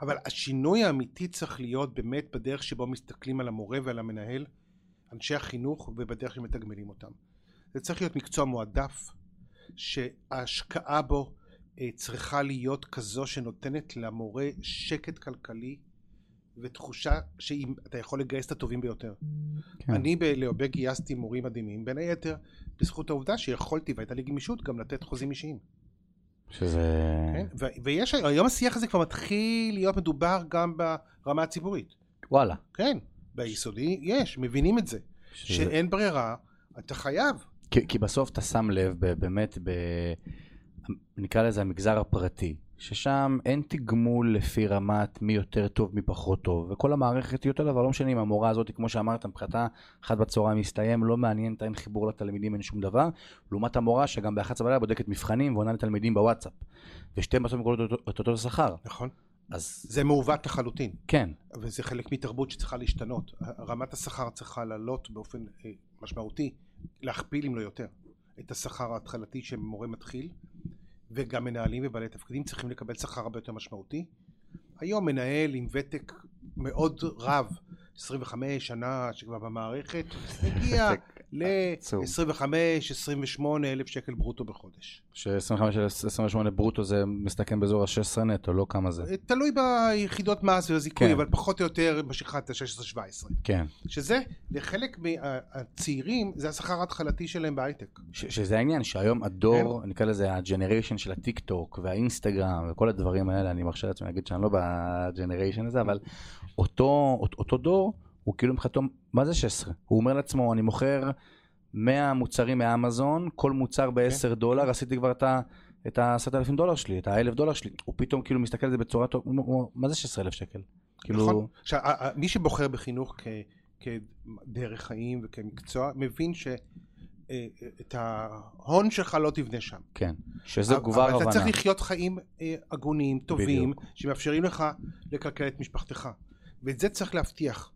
C: אבל השינוי האמיתי צריך להיות באמת בדרך שבו מסתכלים על המורה ועל המנהל, אנשי החינוך, ובדרך שמתגמלים אותם. זה צריך להיות מקצוע מועדף, שההשקעה בו אה, צריכה להיות כזו שנותנת למורה שקט כלכלי ותחושה שאתה יכול לגייס את הטובים ביותר.
B: כן.
C: אני בלהובה גייסתי מורים מדהימים, בין היתר בזכות העובדה שיכולתי והייתה לי גמישות גם לתת חוזים אישיים.
B: שזה...
C: כן? ו- ויש, היום השיח הזה כבר מתחיל להיות מדובר גם ברמה הציבורית.
B: וואלה.
C: כן, ביסודי יש, מבינים את זה.
B: שזה...
C: שאין ברירה, אתה חייב.
B: כי, כי בסוף אתה שם לב ב- באמת, ב... נקרא לזה המגזר הפרטי, ששם אין תגמול לפי רמת מי יותר טוב, מי פחות טוב, וכל המערכת היא אותו דבר, לא משנה אם המורה הזאת, כמו שאמרת, מבחינתה, אחת בצהריים מסתיים, לא מעניין אותה, אין חיבור לתלמידים, אין שום דבר, לעומת המורה שגם ב-11 בלילה בודקת מבחנים ועונה לתלמידים בוואטסאפ, ושתיהן בסוף מקבלות אותו- את אותו שכר,
C: נכון.
B: אז
C: זה מעוות לחלוטין,
B: כן,
C: וזה חלק מתרבות שצריכה להשתנות. רמת השכר צריכה לעלות באופן אה, משמעותי, להכפיל אם לא יותר, את השכר ההתחלתי שמורה מתחיל, וגם מנהלים ובעלי תפקידים צריכים לקבל שכר הרבה יותר משמעותי. היום מנהל עם ותק מאוד רב, 25 שנה שכבר במערכת, מגיע
B: עצום.
C: ל-25-28 אלף שקל ברוטו בחודש.
B: ש-25-28 ברוטו זה מסתכם באזור ה-16 נטו, לא כמה זה,
C: אה, תלוי ביחידות מס ובזיכוי,
B: כן.
C: אבל פחות או יותר בשכבת ה-16-17.
B: כן.
C: שזה לחלק מהצעירים, זה השכר ההתחלתי שלהם בהייטק.
B: ש- שזה העניין שהיום הדור
C: כן.
B: נקרא לזה הג'נריישן של הטיק טוק והאינסטגרם וכל הדברים האלה אני מרשה לעצמי להגיד שאני לא בג'נריישן הזה אבל אותו אות- אותו דור הוא כאילו מבחינתו מה זה 16 הוא אומר לעצמו אני מוכר 100 מוצרים מאמזון כל
C: כן.
B: מוצר ב-10 דולר עשיתי כבר את ה... את ה-10,000 דולר שלי, את ה-1,000 דולר שלי, הוא פתאום כאילו מסתכל על זה בצורה טוב, הוא אומר, מה זה 16,000 שקל?
C: נכון?
B: כאילו,
C: עכשיו, ה- ה- מי שבוחר בחינוך כ- כדרך חיים וכמקצוע, מבין שאת ההון שלך לא תבנה שם.
B: כן, שזה
C: אבל-
B: גובר
C: אבל אתה צריך
B: הבנה,
C: לחיות חיים אה, הגונים, טובים, שמאפשרים לך לכלכל את משפחתך. ואת זה צריך להבטיח.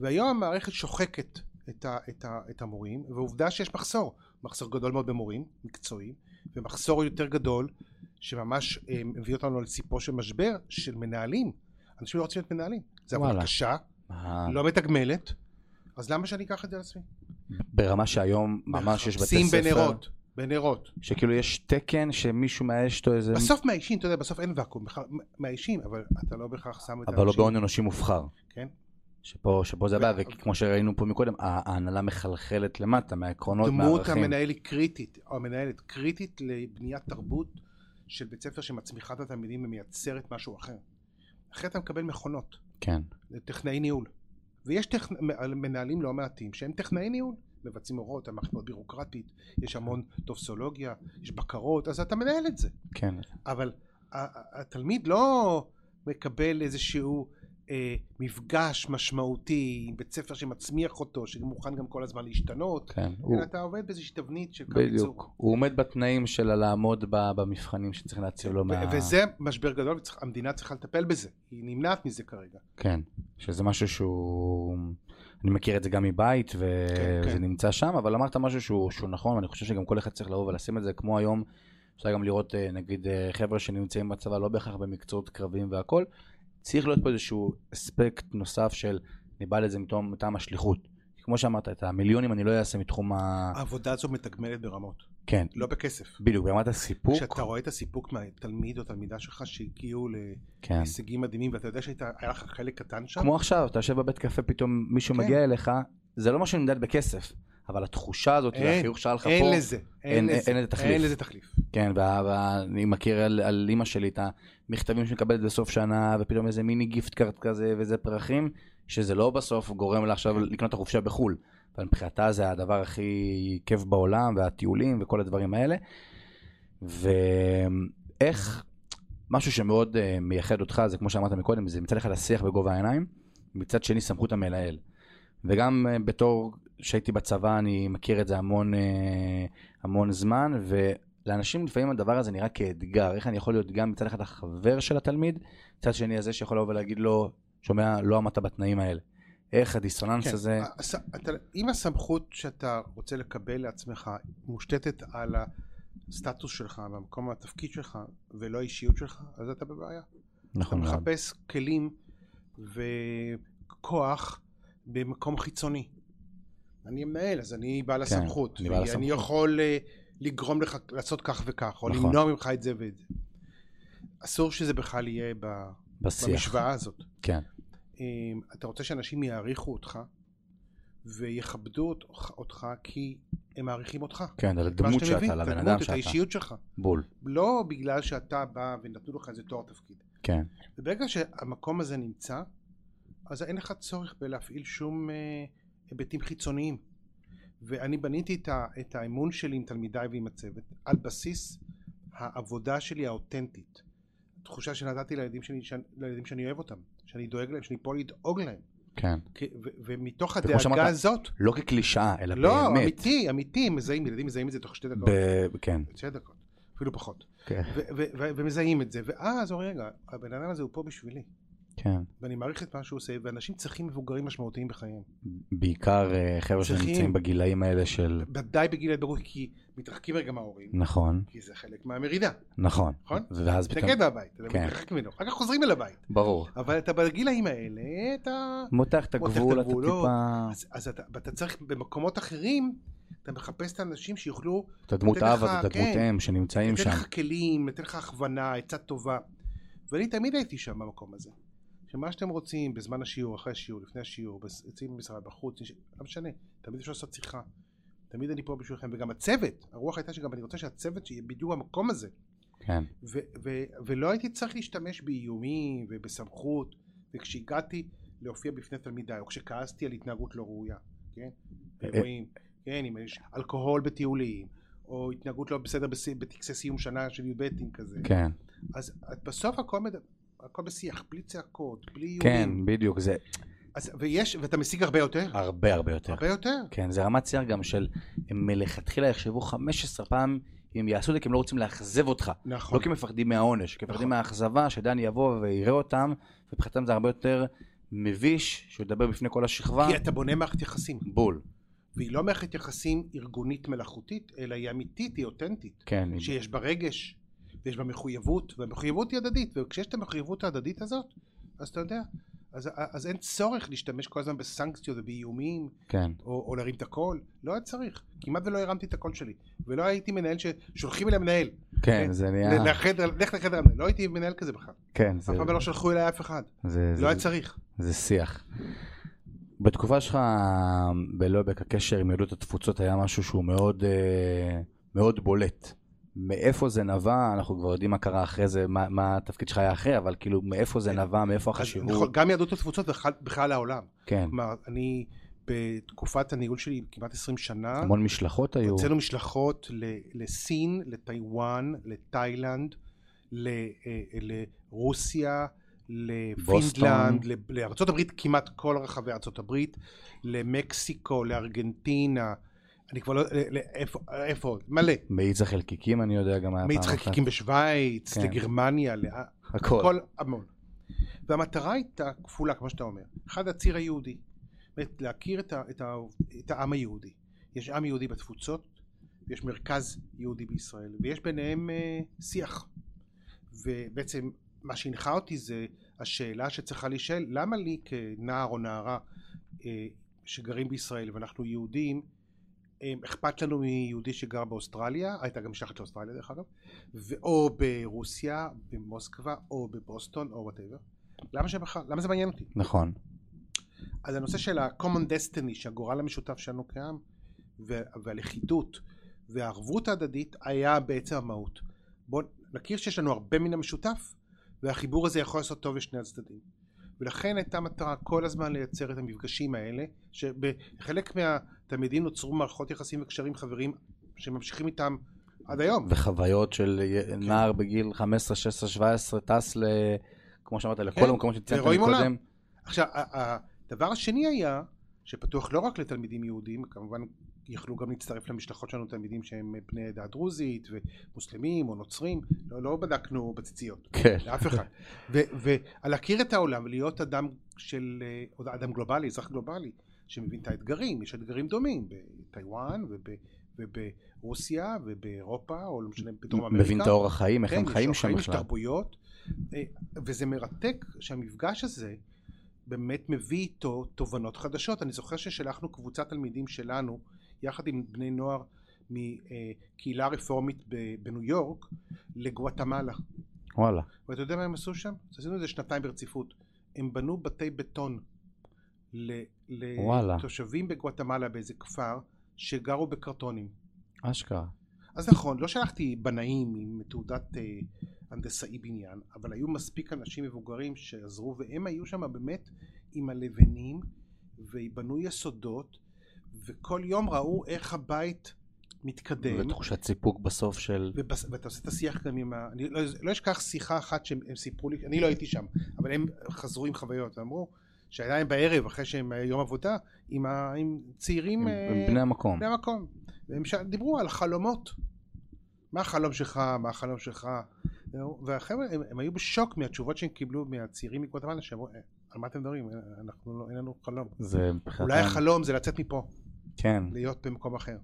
C: והיום המערכת שוחקת את, ה, את, ה, את המורים, ועובדה שיש מחסור. מחסור גדול מאוד במורים מקצועיים, ומחסור יותר גדול שממש אה, מביא אותנו על סיפו של משבר של מנהלים. אנשים לא רוצים להיות מנהלים. זו עבודה
B: וואלה. אה.
C: קשה,
B: מה-
C: לא מתגמלת, אז למה שאני אקח את זה על עצמי?
B: ברמה שהיום ממש יש בתי
C: מחפשים
B: ספר,
C: נכון. בנרות, בנרות.
B: שכאילו יש תקן שמישהו מאייש אותו איזה...
C: בסוף מאיישים, אתה יודע, בסוף אין ואקום, בכלל מאיישים, אבל אתה לא בהכרח שם את
B: אבל לא בהון אנושי מובחר.
C: כן. אוקיי.
B: שפה, שפה זה הבעיה,
C: ו-
B: וכמו שראינו פה מקודם, ה- ההנהלה מחלחלת למטה מהעקרונות,
C: דמות
B: מהערכים.
C: המנהל היא קריטית, או המנהלת קריטית לבניית תרבות של בית ספר שמצמיחה את התלמידים ומייצרת משהו אחר. אחרת אתה מקבל מכונות,
B: כן,
C: טכנאי ניהול. ויש טכ... מנהלים לא מעטים שהם טכנאי ניהול, מבצעים הוראות, המערכת מאוד בירוקרטית, יש המון טופסולוגיה, יש בקרות, אז אתה מנהל את זה.
B: כן.
C: אבל ה- ה- התלמיד לא מקבל איזשהו אה, מפגש משמעותי עם בית ספר שמצמיח אותו, שמוכן גם כל הזמן להשתנות,
B: כן. הוא,
C: אלא אתה עובד באיזושהי תבנית של קו ייצור.
B: בדיוק. הוא עומד בתנאים של לעמוד ב- במבחנים שצריך להציב לו
C: ו-
B: לא מה...
C: וזה משבר גדול, והמדינה צריכה לטפל בזה, היא נמנעת מזה כרגע.
B: כן, שזה משהו שהוא... אני מכיר את זה גם מבית, ו...
C: כן,
B: וזה
C: כן.
B: נמצא שם, אבל אמרת משהו שהוא, שהוא נכון, ואני חושב שגם כל אחד צריך לבוא ולשים את זה, כמו היום, אפשר גם לראות, אה, נגיד, אה, חבר'ה שנמצאים בצבא לא בהכרח במקצועות קרביים והכל, צריך להיות פה איזשהו אספקט נוסף של, אני בא לזה מטעם, מטעם השליחות. כמו שאמרת, את המיליונים אני לא אעשה מתחום ה...
C: העבודה הזו מתגמלת ברמות,
B: כן,
C: אה, לא בכסף.
B: בדיוק, ברמת הסיפוק.
C: כשאתה רואה את הסיפוק מהתלמיד או תלמידה שלך שהגיעו
B: כן.
C: להישגים מדהימים, ואתה יודע שהיה לך חלק קטן שם,
B: כמו עכשיו, אתה יושב בבית קפה, פתאום מישהו
C: כן.
B: מגיע אליך, זה לא משהו שנמדד בכסף, אבל התחושה הזאת,
C: אין,
B: והחיוך שהיה לך פה,
C: אין לזה, אין
B: אין-
C: לזה,
B: אין לזה תחליף.
C: אין לזה תחליף.
B: כן, וה- ואני מכיר על, על אימא שלי את המכתבים שמקבלת בסוף שנה, ופתאום איזה מיני גיפט קארט כזה וזה פרחים, שזה לא בסוף גורם לה עכשיו לקנות את החופשה בחו"ל. אבל מבחינתה זה הדבר הכי כיף בעולם, והטיולים וכל הדברים האלה. ואיך, משהו שמאוד אה, מייחד אותך, זה כמו שאמרת מקודם, זה מצד אחד השיח בגובה העיניים, מצד שני סמכות המנהל. וגם אה, בתור שהייתי בצבא, אני מכיר את זה המון, אה, המון זמן, ו... לאנשים לפעמים הדבר הזה נראה כאתגר, איך אני יכול להיות גם מצד אחד החבר של התלמיד, מצד שני הזה שיכול לבוא ולהגיד לו, שומע, לא עמדת בתנאים האלה. איך הדיסוננס
C: כן,
B: הזה,
C: הס- אתה- אם הסמכות שאתה רוצה לקבל לעצמך מושתתת על הסטטוס שלך, במקום התפקיד שלך, ולא האישיות שלך, אז אתה בבעיה.
B: נכון
C: אתה
B: מאוד.
C: מחפש כלים וכוח במקום חיצוני. אני מנהל, אז אני בעל
B: כן,
C: הסמכות.
B: אני בעל
C: אני
B: הסמכות.
C: יכול אה, לגרום לך לעשות כך וכך, או
B: נכון.
C: למנוע ממך את זה ואת זה. אסור שזה בכלל יהיה ב-
B: בשיח.
C: במשוואה הזאת.
B: כן.
C: אמ, אתה רוצה שאנשים יעריכו אותך ויכבדו אותך, אותך כי הם מעריכים אותך.
B: כן, על
C: מה
B: הדמות
C: שאתה מביא,
B: שאתה, על
C: את
B: הבן
C: הדמות,
B: אדם
C: את
B: שאתה.
C: האישיות שלך.
B: בול.
C: לא בגלל שאתה בא ונתנו לך איזה תואר תפקיד.
B: כן.
C: וברגע שהמקום הזה נמצא, אז אין לך צורך בלהפעיל שום אה, היבטים חיצוניים. ואני בניתי את, ה, את האמון שלי עם תלמידיי ועם הצוות על בסיס העבודה שלי האותנטית. תחושה שנתתי לילדים שלי, שאני, לילדים שאני אוהב אותם, שאני דואג להם, שאני פה לדאוג להם.
B: כן.
C: כי- ו- ומתוך
B: וכמו
C: הדאגה
B: שאמרת,
C: הזאת,
B: לא כקלישאה, אלא
C: לא,
B: באמת.
C: אמיתי, אמיתי, מזהים, ילדים מזהים את זה לא. תוך שתי דקות,
B: ב- כן.
C: שתי דקות, אפילו פחות,
B: כן.
C: ו- ו- ו- ומזהים את זה, ואז אומרים, רגע, הבן אדם הזה הוא פה בשבילי,
B: כן.
C: ואני מעריך את מה שהוא עושה, ואנשים צריכים מבוגרים משמעותיים בחייהם,
B: בעיקר אה, חבר'ה
C: צריכים-
B: שנמצאים בגילאים האלה של...
C: ודאי בגיל ההתבגרות, כי מתרחקים רגע מההורים,
B: נכון,
C: כי זה חלק מהמרידה,
B: נכון.
C: נכון?
B: ואז פתאום...
C: מתנגד מהבית, אתה
B: כן.
C: מתרחק ממנו, אחר כך חוזרים אל הבית,
B: ברור.
C: אבל אתה בגילאים האלה, אתה...
B: מותח את
C: מותח את
B: הגבול, אתה
C: הגבול, לא.
B: טיפה...
C: אז, אז אתה, ואתה צריך במקומות אחרים, אתה מחפש את האנשים שיוכלו
B: אתה דמות
C: נותן
B: אב,
C: לך-
B: אתה דמות
C: כן.
B: אם שנמצאים
C: נותן
B: שם.
C: לך כלים, נותן לך הכוונה, עצה טובה. ואני תמיד הייתי שם במקום הזה. שמה שאתם רוצים, בזמן השיעור, אחרי השיעור, לפני השיעור, בס- יוצאים במשרד, בחוץ, יש- לא משנה, תמיד אפשר לעשות שיחה. תמיד אני פה בשבילכם, וגם הצוות, הרוח הייתה שגם אני רוצה שהצוות שיהיה בדיוק במקום הזה.
B: כן,
C: ו- ו- ולא הייתי צריך להשתמש באיומים ובסמכות, וכשהגעתי להופיע בפני תלמידיי, או כשכעסתי על התנהגות לא ראויה, כן? אירועים, כן, אם יש אלכוהול בטיולים, או התנהגות לא בסדר בס- בטקסי סיום שנה של י"בים כזה.
B: כן,
C: אז את- בסוף הכל, מד... הכל בשיח, בלי צעקות, בלי
B: כן,
C: איומים.
B: בדיוק, זה
C: אז, ויש, ואתה משיג הרבה יותר,
B: הרבה הרבה יותר.
C: הרבה יותר.
B: כן, זה רמת שיח גם של, הם מלכתחילה יחשבו 15 פעם אם הם יעשו את זה כי הם לא רוצים לאכזב אותך.
C: נכון.
B: לא כי הם מפחדים מהעונש, כי הם מפחדים
C: נכון.
B: מהאכזבה, שדן יבוא ויראה אותם, ומבחינתם זה הרבה יותר מביש, שהוא ידבר בפני כל השכבה.
C: כי אתה בונה מערכת יחסים,
B: בול.
C: והיא לא מערכת יחסים ארגונית מלאכותית, אלא היא אמיתית, היא אותנטית.
B: כן,
C: שיש בה רגש, ויש בה מחויבות, והמחויבות היא הדדית, וכשיש את המחויבות ההדדית הזאת, אז אתה יודע, אז, אז אין צורך להשתמש כל הזמן בסנקציות ובאיומים,
B: כן,
C: או, או להרים את הקול, לא היה צריך, כמעט ולא הרמתי את הקול שלי, ולא הייתי מנהל ששולחים אליי מנהל,
B: כן, זה נהיה,
C: ל- לחדר, לך לחדר, המנהל. לא הייתי מנהל כזה בכלל,
B: כן,
C: אף פעם לא שלחו אליי אף אחד,
B: זה,
C: לא היה צריך.
B: זה שיח. בתקופה שלך בלובק הקשר עם יהדות התפוצות היה משהו שהוא מאוד, אה, מאוד בולט. מאיפה זה נבע, אנחנו כבר יודעים מה קרה אחרי זה, מה, מה התפקיד שלך היה אחרי, אבל כאילו מאיפה זה נבע, מאיפה
C: אז נכון,
B: החשיבות,
C: גם יהדות התפוצות ובכלל- בכלל העולם.
B: כן,
C: כלומר, אני בתקופת הניהול שלי, כמעט 20 שנה,
B: המון משלחות היו,
C: הוצאנו משלחות ל- לסין, לטיוואן, לתאילנד, ל- אה, לרוסיה, לפינדלנד, ל- לארצות הברית, כמעט כל רחבי ארצות הברית, למקסיקו, לארגנטינה, אני כבר לא, ל- ל- איפה- איפה עוד? מלא.
B: מאיץ החלקיקים אני יודע גם היה פעם
C: מאיץ
B: אחת,
C: חלקיקים בשוויץ,
B: כן.
C: לגרמניה, אה, לאן.
B: הכל,
C: כל המון. והמטרה הייתה כפולה, כמו שאתה אומר. אחד, הציר היהודי. באמת, להכיר את, ה, את, ה, את העם היהודי. יש עם יהודי בתפוצות, יש מרכז יהודי בישראל, ויש ביניהם אה, שיח. ובעצם מה שהנחה אותי זה השאלה שצריכה להישאל, למה לי כנער או נערה אה, שגרים בישראל ואנחנו יהודים, אה, אכפת לנו מיהודי שגר באוסטרליה, הייתה גם משלחת לאוסטרליה דרך אגב, ו- או ברוסיה, במוסקבה, או בבוסטון, או וואטאבר. למה, שבכלל- למה זה מעניין אותי?
B: נכון,
C: אז הנושא של ה-common destiny, שהגורל המשותף שלנו כעם, ו- והלכידות, והערבות ההדדית, היה בעצם המהות. בואו נכיר שיש לנו הרבה מן המשותף, והחיבור הזה יכול לעשות טוב לשני הצדדים. ולכן הייתה מטרה כל הזמן לייצר את המפגשים האלה, שבחלק מהתלמידים נוצרו מערכות יחסים וקשרים חבריים שממשיכים איתם עד היום.
B: וחוויות של י-
C: כן.
B: נער בגיל 15, 16, 17 טס ל... כמו שאמרת, לכל
C: כן,
B: המקומות שציינת
C: ורואים
B: קודם,
C: עולם. עכשיו, ה- ה- הדבר השני היה, שפתוח לא רק לתלמידים יהודים, כמובן יכלו גם להצטרף למשלחות שלנו תלמידים שהם בני העדה הדרוזית ומוסלמים או נוצרים, לא, לא בדקנו בציציות,
B: כן,
C: לאף אחד. ו- ולהכיר את העולם ולהיות אדם של, אה, עוד אדם גלובלי, אזרח גלובלי, שמבין את האתגרים, יש אתגרים דומים בטיוואן וב... וברוסיה ובאירופה, או לא משנה, בדרום אמריקה.
B: מבין את האורח חיים, איך
C: כן,
B: הם
C: יש
B: חיים שם
C: אורחים, יש
B: בכלל,
C: תרבויות, אה, וזה מרתק שהמפגש הזה באמת מביא איתו תובנות חדשות. אני זוכר ששלחנו קבוצת תלמידים שלנו יחד עם בני נוער מקהילה רפורמית ב- בניו יורק לגואטמלה.
B: וואלה.
C: ואתה יודע מה הם עשו שם? אז עשינו את זה שנתיים ברציפות. הם בנו בתי בטון ל-
B: וואלה.
C: לתושבים בגואטמלה באיזה כפר שגרו בקרטונים.
B: אשכרה.
C: אז נכון, לא שלחתי בנאים עם תעודת אה, הנדסאי בניין, אבל היו מספיק אנשים מבוגרים שעזרו, והם היו שם באמת עם הלבנים, ובנו יסודות, וכל יום ראו איך הבית מתקדם.
B: ותחושת סיפוק בסוף של...
C: ובס... ואתה עושה את השיח גם עם ה... אני לא, לא אשכח שיחה אחת שהם הם סיפרו לי, אני לא הייתי שם, אבל הם חזרו עם חוויות, ואמרו שהיה להם בערב, אחרי שהם אה, יום עבודה, עם, ה... עם צעירים...
B: עם
C: אה,
B: עם בני המקום.
C: בני המקום. והם ש... דיברו על חלומות. מה החלום שלך, מה החלום שלך. והחבר'ה, הם, הם היו בשוק מהתשובות שהם קיבלו מהצעירים מקוואטמלה, שאמרו, "אה, על מה אתם מדברים? אין- אנחנו לא, אין לנו חלום.
B: זה מבחינתם...
C: אולי החלום זה לצאת מפה,
B: כן.
C: להיות במקום אחר.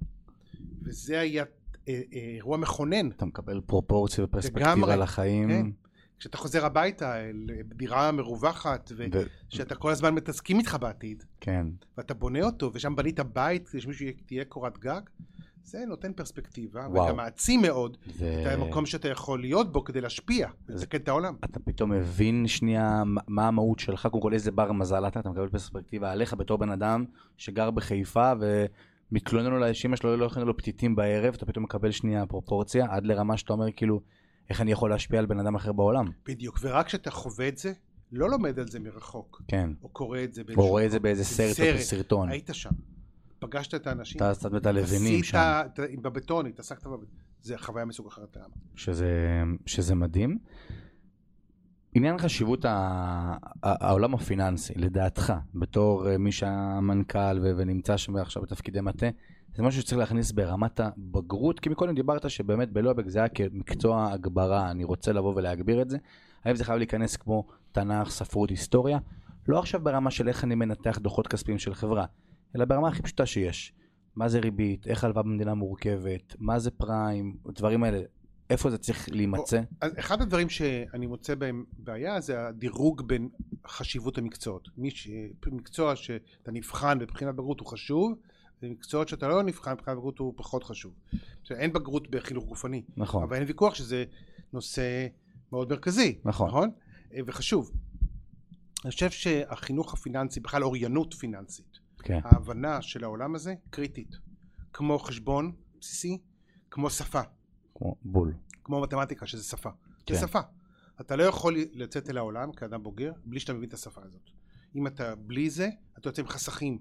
C: וזה היה אה, אה, אירוע מכונן.
B: אתה מקבל פרופורציה ופרספקטיבה
C: לגמרי,
B: לחיים.
C: כן. כשאתה חוזר הביתה, אל- אה, בדירה מרווחת,
B: ו-
C: ושאתה כל הזמן מתעסקים איתך בעתיד,
B: כן.
C: ואתה בונה אותו, ושם בנית בית, כדי שמישהו יהיה- תהיה קורת גג, זה נותן פרספקטיבה,
B: וואו.
C: וגם מעצים מאוד
B: זה...
C: את המקום שאתה יכול להיות בו כדי
B: אה.
C: להשפיע, לתקן את העולם.
B: אתה פתאום מבין שנייה מה- מה המהות שלך, קודם כל איזה בר מזל אתה, אתה מקבל פרספקטיבה עליך בתור בן אדם שגר בחיפה ומתלונן אולי שאמא שלו לא הכינה לו פתיתים בערב, אתה פתאום מקבל שנייה פרופורציה עד לרמה שאתה אומר כאילו, איך אני יכול להשפיע על בן אדם אחר בעולם?
C: בדיוק, ורק כשאתה חווה את זה, לא לומד על זה מרחוק,
B: כן.
C: או קורא את זה באיזשהו...
B: או רואה את זה באיזה
C: בסרט.
B: סרט או בסרטון.
C: היית שם, פגשת את האנשים,
B: אתה שם את הלבנים שם,
C: את ה- בבטון, התעסקת בבטון, זה חוויה מסוג אחר לגמרי.
B: שזה, שזה מדהים. עניין חשיבות ה... ה- העולם הפיננסי, לדעתך, בתור אה, מי שהיה מנכ"ל ו... ונמצא שם עכשיו בתפקידי מטה, זה משהו שצריך להכניס ברמת הבגרות, כי מקודם דיברת שבאמת בלובק זה היה כמקצוע הגברה, אני רוצה לבוא ולהגביר את זה. האם זה חייב להיכנס כמו תנ"ך, ספרות, היסטוריה? לא עכשיו ברמה של איך אני מנתח דוחות כספיים של חברה, אלא ברמה הכי פשוטה שיש. מה זה ריבית, איך הלוואה במדינה מורכבת, מה זה פריים, הדברים האלה. איפה זה צריך להימצא?
C: אז אחד הדברים שאני מוצא בהם בעיה זה הדירוג בין חשיבות המקצועות. מי ש... מקצוע שאתה נבחן בבחינת בגרות הוא חשוב, ומקצועות שאתה לא נבחן בבחינת בגרות הוא פחות חשוב. עכשיו, אין בגרות בחינוך גופני,
B: נכון,
C: אבל אין ויכוח שזה נושא מאוד מרכזי,
B: נכון.
C: נכון? אה, וחשוב. אני חושב שהחינוך הפיננסי, בכלל אוריינות פיננסית,
B: כן,
C: ההבנה של העולם הזה קריטית. כמו חשבון בסיסי, כמו שפה.
B: כמו בול.
C: כמו מתמטיקה שזה שפה.
B: כן.
C: כן. זה שפה. אתה לא יכול לצאת אל העולם כאדם בוגר בלי שאתה מבין את השפה הזאת. אם אתה בלי זה, אתה יוצא עם חסכים.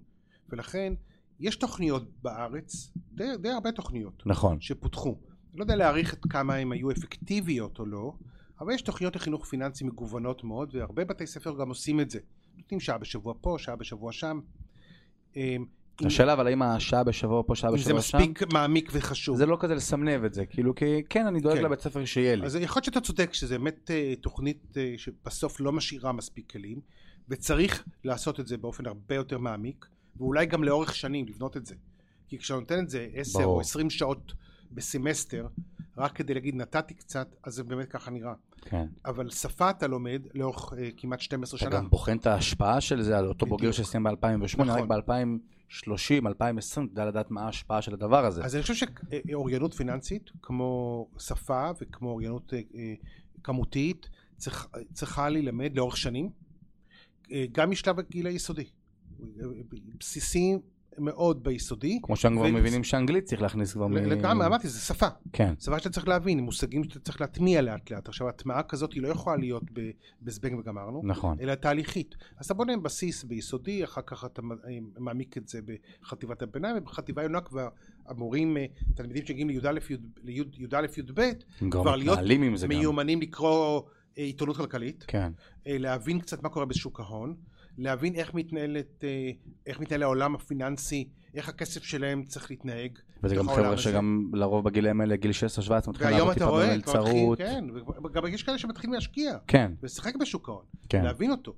C: ולכן, יש תוכניות בארץ, די, די הרבה תוכניות,
B: נכון,
C: שפותחו. אני לא יודע להעריך את כמה הן היו אפקטיביות או לא, אבל יש תוכניות לחינוך פיננסי מגוונות מאוד, והרבה בתי ספר גם עושים את זה. נותנים שעה בשבוע פה, שעה בשבוע שם. אמ, אם,
B: השאלה אבל האם השעה בשבוע פה, שעה
C: אם זה
B: בשבוע שם,
C: מספיק מעמיק וחשוב.
B: זה לא כזה לסמנב את זה, כאילו כי כן אני דואג
C: כן.
B: לבית ספר שיהיה לי,
C: אז יכול להיות שאתה צודק שזה באמת אה, תוכנית אה, שבסוף לא משאירה מספיק כלים וצריך לעשות את זה באופן הרבה יותר מעמיק ואולי גם לאורך שנים לבנות את זה כי כשאתה נותן את זה 10
B: ברור.
C: או 20 שעות בסמסטר רק כדי להגיד נתתי קצת אז זה באמת ככה נראה
B: כן.
C: אבל שפה אתה לומד לאורך אה, כמעט 12
B: אתה
C: שנה
B: גם בוחן את ההשפעה של זה על אותו
C: בדיוק.
B: בוגר שסיים ב-2008, רק
C: נכון.
B: ב-2030, 2020, תדע לדעת מה ההשפעה של הדבר הזה.
C: אז אני חושב שאוריינות פיננסית, כמו שפה וכמו אוריינות אה, אה, כמותית, צריך, אה, צריכה להילמד לאורך שנים, אה, גם משלב הגיל היסודי. אה, בסיסי מאוד ביסודי.
B: כמו שהם כבר
C: ו-
B: מבינים שאנגלית צריך להכניס כבר מ...
C: לגמרי, אמרתי, זה שפה.
B: כן,
C: שפה שאתה צריך להבין, מושגים שאתה צריך להטמיע לאט לאט. עכשיו, הטמעה כזאת היא לא יכולה להיות ב- בזבנג וגמרנו.
B: נכון.
C: אלא תהליכית. אז אתה בונה בסיס ביסודי, אחר כך אתה מ- אה, מעמיק את זה בחטיבת הביניים, ובחטיבה העליונה כבר המורים, אה, תלמידים שמגיעים לי"א, י"א, י"ב,
B: הם כבר
C: כבר להיות
B: מתנהלים עם זה גם.
C: מיומנים לקרוא אה, עיתונות כלכלית,
B: כן,
C: אה, להבין קצת מה קורה בשוק ההון, להבין איך מתנהלת, אה, איך מתנהל העולם הפיננסי, איך הכסף שלהם צריך להתנהג.
B: וזה גם
C: בתוך
B: חבר'ה
C: העולם הזה.
B: שגם לרוב בגילאים האלה, גיל 16-17, מתחילים
C: והיום
B: לעבוד
C: אתה
B: טיפה
C: רואה, כבר מתחילים,
B: במלצרות.
C: כן, וגם יש כאלה שמתחילים להשקיע
B: כן,
C: ולשחק בשוק ההון.
B: כן.
C: להבין אותו.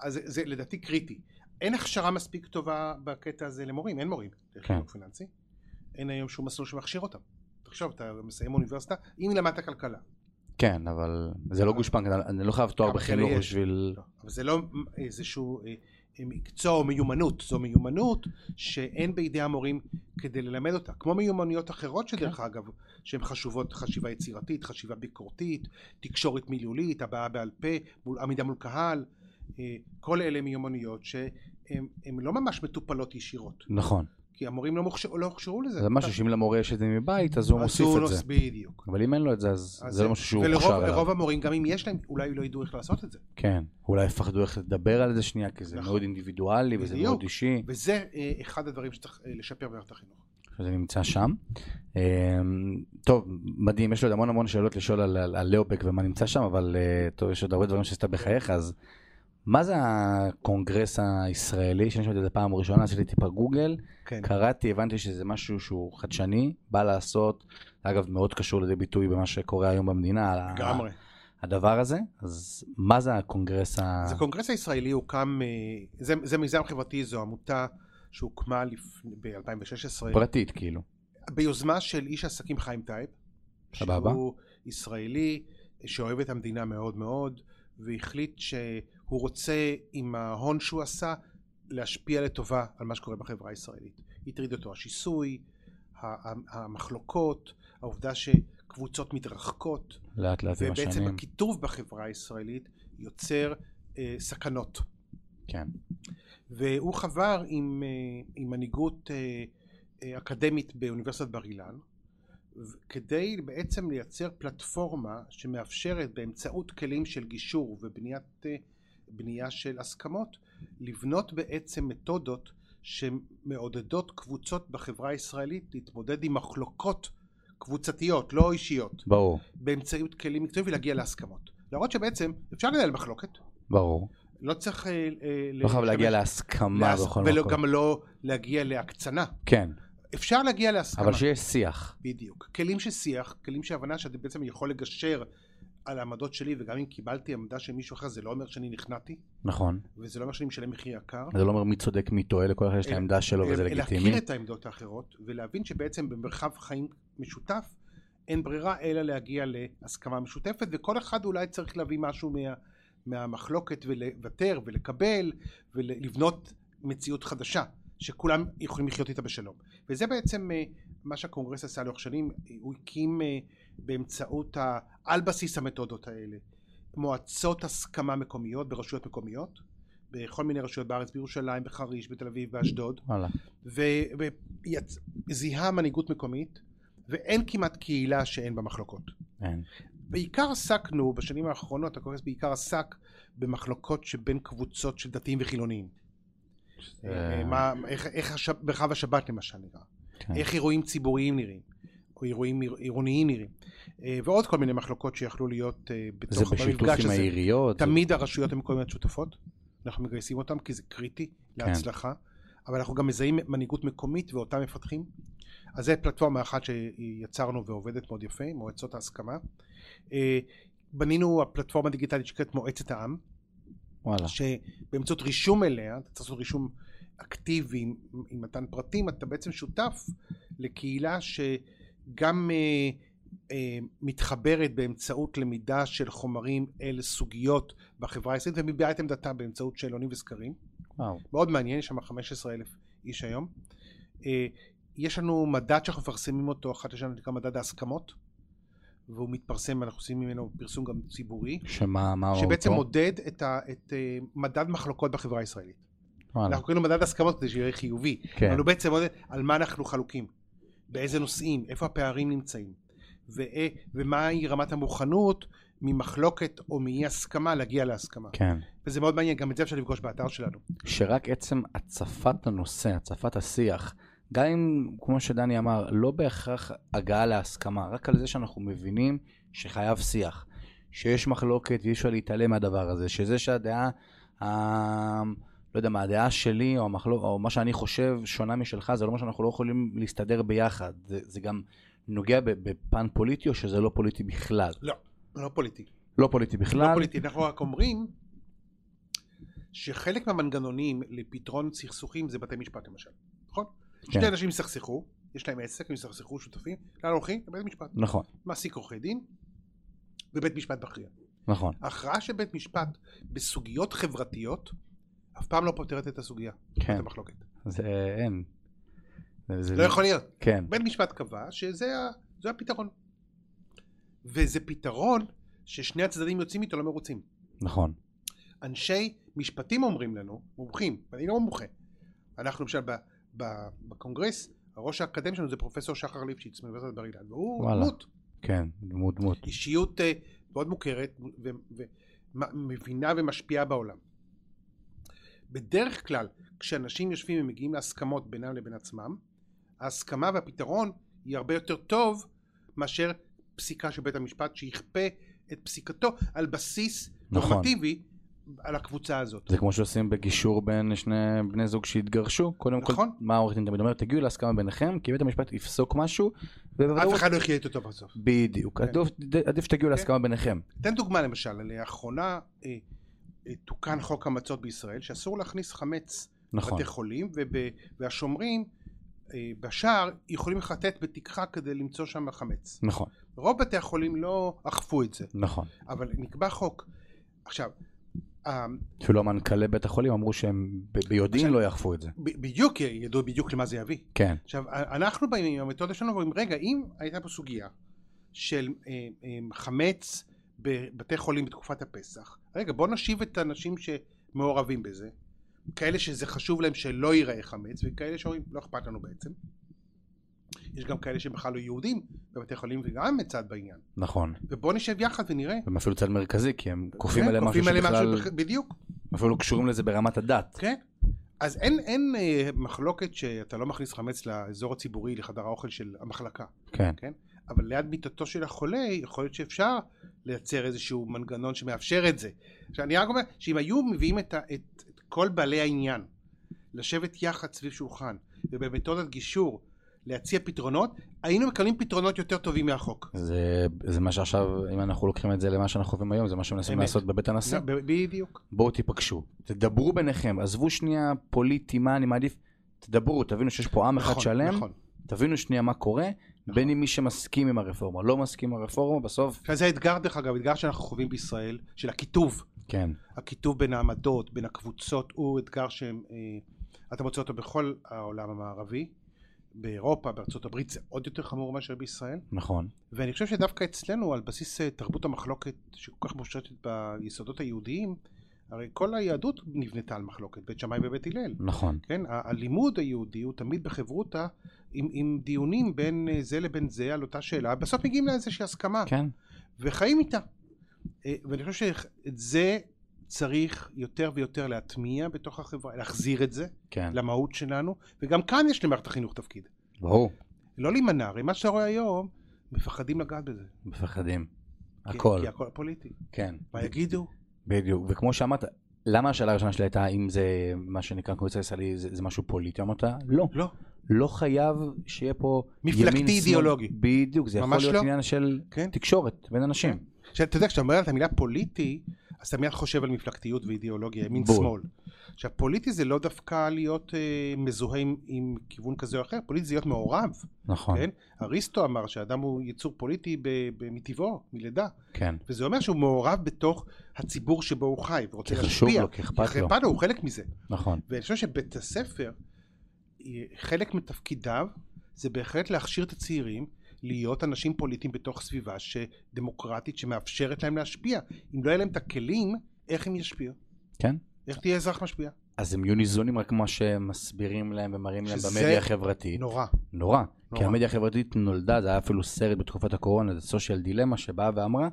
C: אז זה, זה לדעתי קריטי. אין הכשרה מספיק טובה בקטע הזה למורים, אין מורים לחינוך פיננסי. אין היום שום מסלול שמכשיר אותם. תחשוב, אתה מסיים אוניברסיטה, אם למדת כלכלה,
B: כן, אבל זה לא גושפנקה, אני לא חייב תואר
C: אה, כמה כאלה
B: בחינוך
C: יש?
B: בשביל...
C: לא, אבל זה לא איזשהו אה, אה, מקצוע או מיומנות, זו מיומנות שאין בידי המורים כדי ללמד אותה, כמו מיומנויות אחרות שדרך כן. אגב, שהן חשובות, חשיבה יצירתית, חשיבה ביקורתית, תקשורת מילולית, הבעה בעל פה, מול, עמידה מול קהל, אה, כל אלה מיומנויות שהן לא ממש מטופלות ישירות,
B: נכון.
C: כי המורים לא, מוכש, לא הוכשרו לזה.
B: זה משהו שאם למורה יש את זה מבית, אז הוא
C: אז
B: מוסיף
C: הוא
B: את
C: נוס-
B: זה.
C: בדיוק.
B: אבל אם אין לו את זה, אז
C: אז
B: זה לא משהו שהוא
C: ולרוב
B: מוכשר אליו.
C: רוב המורים, גם אם יש להם, אולי לא ידעו איך לעשות את זה.
B: כן. אולי יפחדו איך לדבר על זה שנייה, כי זה
C: נכון.
B: מאוד אינדיבידואלי וזה
C: בדיוק.
B: מאוד אישי.
C: וזה אה, אחד הדברים שצריך אה, לשפר במערכת החינוך.
B: זה נמצא שם. אמ, טוב, מדהים, יש לי עוד המון המון שאלות לשאול על, על, על לאופק ומה נמצא שם, אבל אה, טוב, יש עוד הרבה דברים שעשית בחייך, אז מה זה הקונגרס הישראלי, שאני שמעתי את זה פעם ראשונה, עשיתי טיפה גוגל,
C: כן.
B: קראתי, הבנתי שזה משהו שהוא חדשני, בא לעשות, אגב, מאוד קשור לידי ביטוי במה שקורה היום במדינה, על ה-
C: לגמרי.
B: הדבר הזה, אז מה זה הקונגרס ה...
C: אז הקונגרס הישראלי הוקם, אה, זה, זה מיזם חברתי, זו עמותה שהוקמה ב-2016
B: פרטית, כאילו.
C: ביוזמה של איש עסקים חיים טייב.
B: סבבה.
C: שהוא ישראלי שאוהב את המדינה מאוד מאוד, והחליט שהוא רוצה עם ההון שהוא עשה להשפיע לטובה על מה שקורה בחברה הישראלית. הטריד אותו השיסוי, ה- ה- המחלוקות, העובדה שקבוצות מתרחקות,
B: לאט לאט עם
C: ובעצם
B: השנים.
C: הקיטוב בחברה הישראלית יוצר אה, סכנות.
B: כן.
C: והוא חבר עם, אה, עם מנהיגות אה, אה, אקדמית באוניברסיטת בר אילן ו- כדי בעצם לייצר פלטפורמה שמאפשרת באמצעות כלים של גישור ובניית אה, בנייה של הסכמות לבנות בעצם מתודות שמעודדות קבוצות בחברה הישראלית להתמודד עם מחלוקות קבוצתיות לא אישיות
B: ברור,
C: באמצעות כלים מקצועיים ולהגיע להסכמות להראות שבעצם אפשר לנהל מחלוקת
B: ברור.
C: לא צריך אה, אה,
B: לא חייב להגיע
C: להשתמש-
B: להסכמה
C: להס-
B: בכל
C: ולא-
B: מקום.
C: גם לא להגיע להקצנה.
B: כן,
C: אפשר להגיע להסכמה.
B: אבל שיש שיח.
C: בדיוק. כלים של שיח, כלים של הבנה שאתה בעצם יכול לגשר על העמדות שלי, וגם אם קיבלתי עמדה של מישהו אחר, זה לא אומר שאני נכנעתי,
B: נכון.
C: וזה לא אומר שאני משלם מחיר יקר.
B: זה לא אומר מי צודק, מי טועה, לכל אחד יש את
C: אלא-
B: העמדה שלו וזה
C: אלא
B: לגיטימי.
C: להכיר את העמדות האחרות, ולהבין שבעצם במרחב חיים משותף, אין ברירה אלא להגיע להסכמה משותפת, וכל אחד אולי צריך להביא משהו מה, מהמחלוקת ולוותר ולקבל, ולבנות מציאות חדשה, שכולם יכולים לחיות איתה בשלום. וזה בעצם אה, מה שהקונגרס עשה לאורך שנים, הוא הקים אה, באמצעות, ה, על בסיס המתודות האלה, מועצות הסכמה מקומיות ברשויות מקומיות, בכל מיני רשויות בארץ, בירושלים, בחריש, בתל אביב, באשדוד,
B: וואלה.
C: וזיהה מנהיגות מקומית ואין כמעט קהילה שאין בה מחלוקות.
B: אין.
C: בעיקר עסקנו בשנים האחרונות הקונגרס בעיקר עסק במחלוקות שבין קבוצות של דתיים וחילוניים.
B: אה,
C: מה, איך, איך הש, מרחב השבת למשל נראה,
B: כן.
C: איך אירועים ציבוריים נראים, או אירועים עיר- עירוניים נראים, אה, ועוד כל מיני מחלוקות שיכלו להיות אה,
B: זה
C: בתוך,
B: בשיתוף
C: במפגש
B: עם
C: הזה.
B: העיריות. זה-
C: תמיד הרשויות המקומיות שותפות, אנחנו מגייסים אותן כי זה קריטי להצלחה, אבל אנחנו גם מזהים מנהיגות מקומית ואותה מפתחים. אז זו פלטפורמה אחת שיצרנו ועובדת מאוד יפה, מועצות ההסכמה. אה, בנינו הפלטפורמה הדיגיטלית שנקראת מועצת העם,
B: וואלה.
C: שבאמצעות רישום אליה, אתה צריך לעשות רישום אקטיבי עם, עם מתן פרטים, אתה בעצם שותף לקהילה שגם אה, אה, מתחברת באמצעות למידה של חומרים אל סוגיות בחברה הישראלית ומביעה את עמדתה באמצעות שאלונים וסקרים.
B: וואו.
C: מאוד מעניין, יש שם 15 אלף איש היום. אה, יש לנו מדד שאנחנו מפרסמים אותו אחת לשנה, נקרא מדד ההסכמות, והוא מתפרסם, אנחנו עושים ממנו פרסום גם ציבורי.
B: שמה, מה אותו?
C: שבעצם מודד את, ה, את אה, מדד מחלוקות בחברה הישראלית.
B: וואלה.
C: אנחנו קוראים לו מדד הסכמות כדי שיהיה חיובי,
B: אה. כן.
C: אבל הוא בעצם מודד על מה אנחנו חלוקים, באיזה נושאים, איפה הפערים נמצאים, ו- אה, ומהי רמת המוכנות ממחלוקת או מאי הסכמה להגיע להסכמה.
B: כן.
C: וזה מאוד מעניין, גם את זה אפשר לפגוש באתר שלנו.
B: שרק עצם הצפת הנושא, הצפת השיח, גם אם, כמו שדני אמר, לא בהכרח הגעה להסכמה, רק על זה שאנחנו מבינים שחייב שיח, שיש מחלוקת ואי אפשר להתעלם מהדבר הזה, שזה שהדעה, ה... לא יודע מה, הדעה שלי או, המחלוק, או מה שאני חושב שונה משלך, זה לא אומר שאנחנו לא יכולים להסתדר ביחד, זה, זה גם נוגע ב- בפן פוליטי או שזה לא פוליטי בכלל?
C: לא פוליטי.
B: לא פוליטי בכלל,
C: לא פוליטי, אנחנו רק אומרים שחלק מהמנגנונים לפתרון סכסוכים זה בתי משפט למשל, נכון?
B: כן.
C: שני אנשים הסתכסכו, יש להם עסק, הם הסתכסכו שותפים, לאן הולכים? לבית משפט.
B: נכון,
C: מעסיק עורכי דין, ובית משפט מכריע.
B: נכון.
C: ההכרעה של בית משפט בסוגיות חברתיות אף פעם לא פותרת את הסוגיה,
B: כן.
C: את המחלוקת.
B: זה אין. זה, זה
C: לא יכול להיות.
B: כן.
C: בית משפט קבע שזה ה- זה הפתרון. וזה פתרון ששני הצדדים יוצאים איתו לא מרוצים.
B: נכון.
C: אנשי משפטים אומרים לנו, מומחים, אני לא מומחה, אנחנו למשל ב- ב- בקונגרס, הראש האקדמי שלנו זה פרופסור שחר ליפשיץ מאוניברסיטת בר אילן, והוא
B: וואלה.
C: דמות,
B: כן. דמות דמות.
C: אישיות אה, מאוד מוכרת ומבינה ומשפיעה בעולם. בדרך כלל כשאנשים יושבים ומגיעים להסכמות בינם לבין עצמם, ההסכמה והפתרון היא הרבה יותר טוב מאשר פסיקה של בית המשפט שיכפה את פסיקתו על בסיס
B: נכון.
C: נורמטיבי על הקבוצה הזאת.
B: זה כמו שעושים בגישור בין שני בני זוג שהתגרשו. קודם כל,
C: נכון.
B: מה העורך דין תמיד אומר? תגיעו להסכמה ביניכם, כי בית המשפט יפסוק משהו, ובוודאות...
C: אף אחד לא יחיה איתו טוב בסוף.
B: בדיוק.
C: כן.
B: עדיף- עדיף שתגיעו להסכמה ביניכם.
C: אתן דוגמה למשל, לאחרונה אה, אה, תוקן חוק המצות בישראל שאסור להכניס חמץ
B: נכון.
C: בתי חולים, וב, והשומרים אה, בשער יכולים לחטט בתקרה כדי למצוא שם חמץ.
B: נכון.
C: רוב בתי החולים לא אכפו את זה,
B: נכון.
C: אבל נקבע חוק. עכשיו, אה, ה-
B: אפילו מנכ"לי בית החולים אמרו שהם ב- ביודעין
C: עכשיו-
B: לא יאכפו את זה.
C: ב- בדיוק ידעו בדיוק למה זה יביא.
B: כן.
C: עכשיו, א- אנחנו באים עם המתודה שלנו ואומרים, רגע, אם הייתה פה סוגיה של אה, אה, חמץ בבתי חולים בתקופת הפסח, רגע, בוא נשיב את האנשים שמעורבים בזה, כאלה שזה חשוב להם שלא ייראה חמץ, וכאלה שאומרים, לא אכפת לנו בעצם. יש גם כאלה שהם בכלל לא יהודים בבתי חולים וגם הם צד בעניין.
B: נכון.
C: ובוא נשב יחד ונראה.
B: הם אפילו צד מרכזי, כי הם כופים
C: כן,
B: עליהם משהו
C: עליהם
B: שבכלל...
C: בכ- בדיוק.
B: הם אפילו לא קשורים לזה ברמת הדת.
C: כן. אז אין, אין אה, מחלוקת שאתה לא מכניס חמץ לאזור הציבורי, לחדר האוכל של המחלקה.
B: כן.
C: אבל ליד מיטתו של החולה, יכול להיות שאפשר לייצר איזשהו מנגנון שמאפשר את זה. עכשיו, אני רק אומר שאם היו מביאים את, ה, את, את כל בעלי העניין לשבת יחד סביב שולחן, ובמתודת גישור להציע פתרונות, היינו מקבלים פתרונות יותר טובים מהחוק.
B: זה, זה מה שעכשיו, אם אנחנו לוקחים את זה למה שאנחנו חווים היום, זה מה שמנסים
C: אמת. לא.
B: לעשות בבית הנשיא.
C: ב- בדיוק.
B: בואו תיפגשו, תדברו ביניכם, עזבו שנייה פוליטי, מה אני מעדיף, תדברו, תבינו שיש פה עם אחד
C: נכון,
B: שלם,
C: נכון.
B: תבינו שנייה מה קורה,
C: נכון.
B: בין אם מי שמסכים עם הרפורמה, לא מסכים עם הרפורמה, בסוף,
C: עכשיו, זה האתגר, דרך אגב, האתגר שאנחנו חווים בישראל, של הקיטוב.
B: כן,
C: הקיטוב בין העמדות, בין הקבוצות, הוא אתגר שאתה מוצא אותו בכל העולם המערבי. באירופה, בארצות הברית זה עוד יותר חמור מאשר בישראל.
B: נכון,
C: ואני חושב שדווקא אצלנו, על בסיס אה, תרבות המחלוקת שכל כך מושתת ביסודות היהודיים, הרי כל היהדות נבנתה על מחלוקת, בית שמאי ובית הלל.
B: נכון,
C: כן, ה- הלימוד היהודי הוא תמיד בחברותא עם, עם דיונים בין אה, זה לבין זה על אותה שאלה, בסוף מגיעים לאיזושהי הסכמה.
B: כן,
C: וחיים איתה. אה, ואני חושב שאת זה צריך יותר ויותר להטמיע בתוך החברה, להחזיר את זה
B: כן,
C: למהות שלנו, וגם כאן יש למערכת החינוך תפקיד.
B: ברור,
C: לא להימנע, הרי מה שאתה רואה היום, מפחדים לגעת בזה. כי-
B: מפחדים, הכל,
C: כי הכל פוליטי.
B: כן,
C: כן, מה יגידו?
B: בדיוק, וכמו שאמרת, למה השאלה הראשונה שלי הייתה אם זה מה שנקרא קבוצה ישראלי זה, זה משהו פוליטי, אמרת לא,
C: לא.
B: לא חייב שיהיה פה
C: מפלגתי
B: ימין, שמאל.
C: אידיאולוגי.
B: בדיוק, זה יכול
C: ממש
B: להיות
C: לא.
B: עניין של
C: כן.
B: תקשורת בין אנשים.
C: עכשיו, אתה יודע, כשאתה אומר את המילה פוליטי, אז אתה מיד חושב על מפלגתיות ואידיאולוגיה, ימין
B: בול.
C: שמאל. עכשיו, פוליטי זה לא דווקא להיות אה, מזוהה עם, עם כיוון כזה או אחר, פוליטי זה להיות מעורב.
B: נכון,
C: כן? אריסטו אמר שהאדם הוא יצור פוליטי ב- ב- מטבעו, מלידה.
B: כן.
C: וזה אומר שהוא מעורב בתוך הציבור שבו הוא חי, ורוצה
B: כי
C: להשפיע.
B: חשוב לו, כי אכפת לו,
C: אכפת לו, הוא חלק מזה.
B: נכון,
C: ואני חושב שבית הספר, אה, חלק מתפקידיו זה בהחלט להכשיר את הצעירים להיות אנשים פוליטיים בתוך סביבה שדמוקרטית שמאפשרת להם להשפיע. אם לא יהיה להם את הכלים, איך הם ישפיעו?
B: כן.
C: איך תהיה אזרח משפיע?
B: אז הם יהיו ניזונים רק מה שמסבירים להם ומראים להם
C: שזה
B: במדיה החברתית.
C: נורא.
B: נורא. כי
C: נורא.
B: המדיה החברתית נולדה, זה היה אפילו סרט בתקופת הקורונה, זה סושיאל דילמה שבאה ואמרה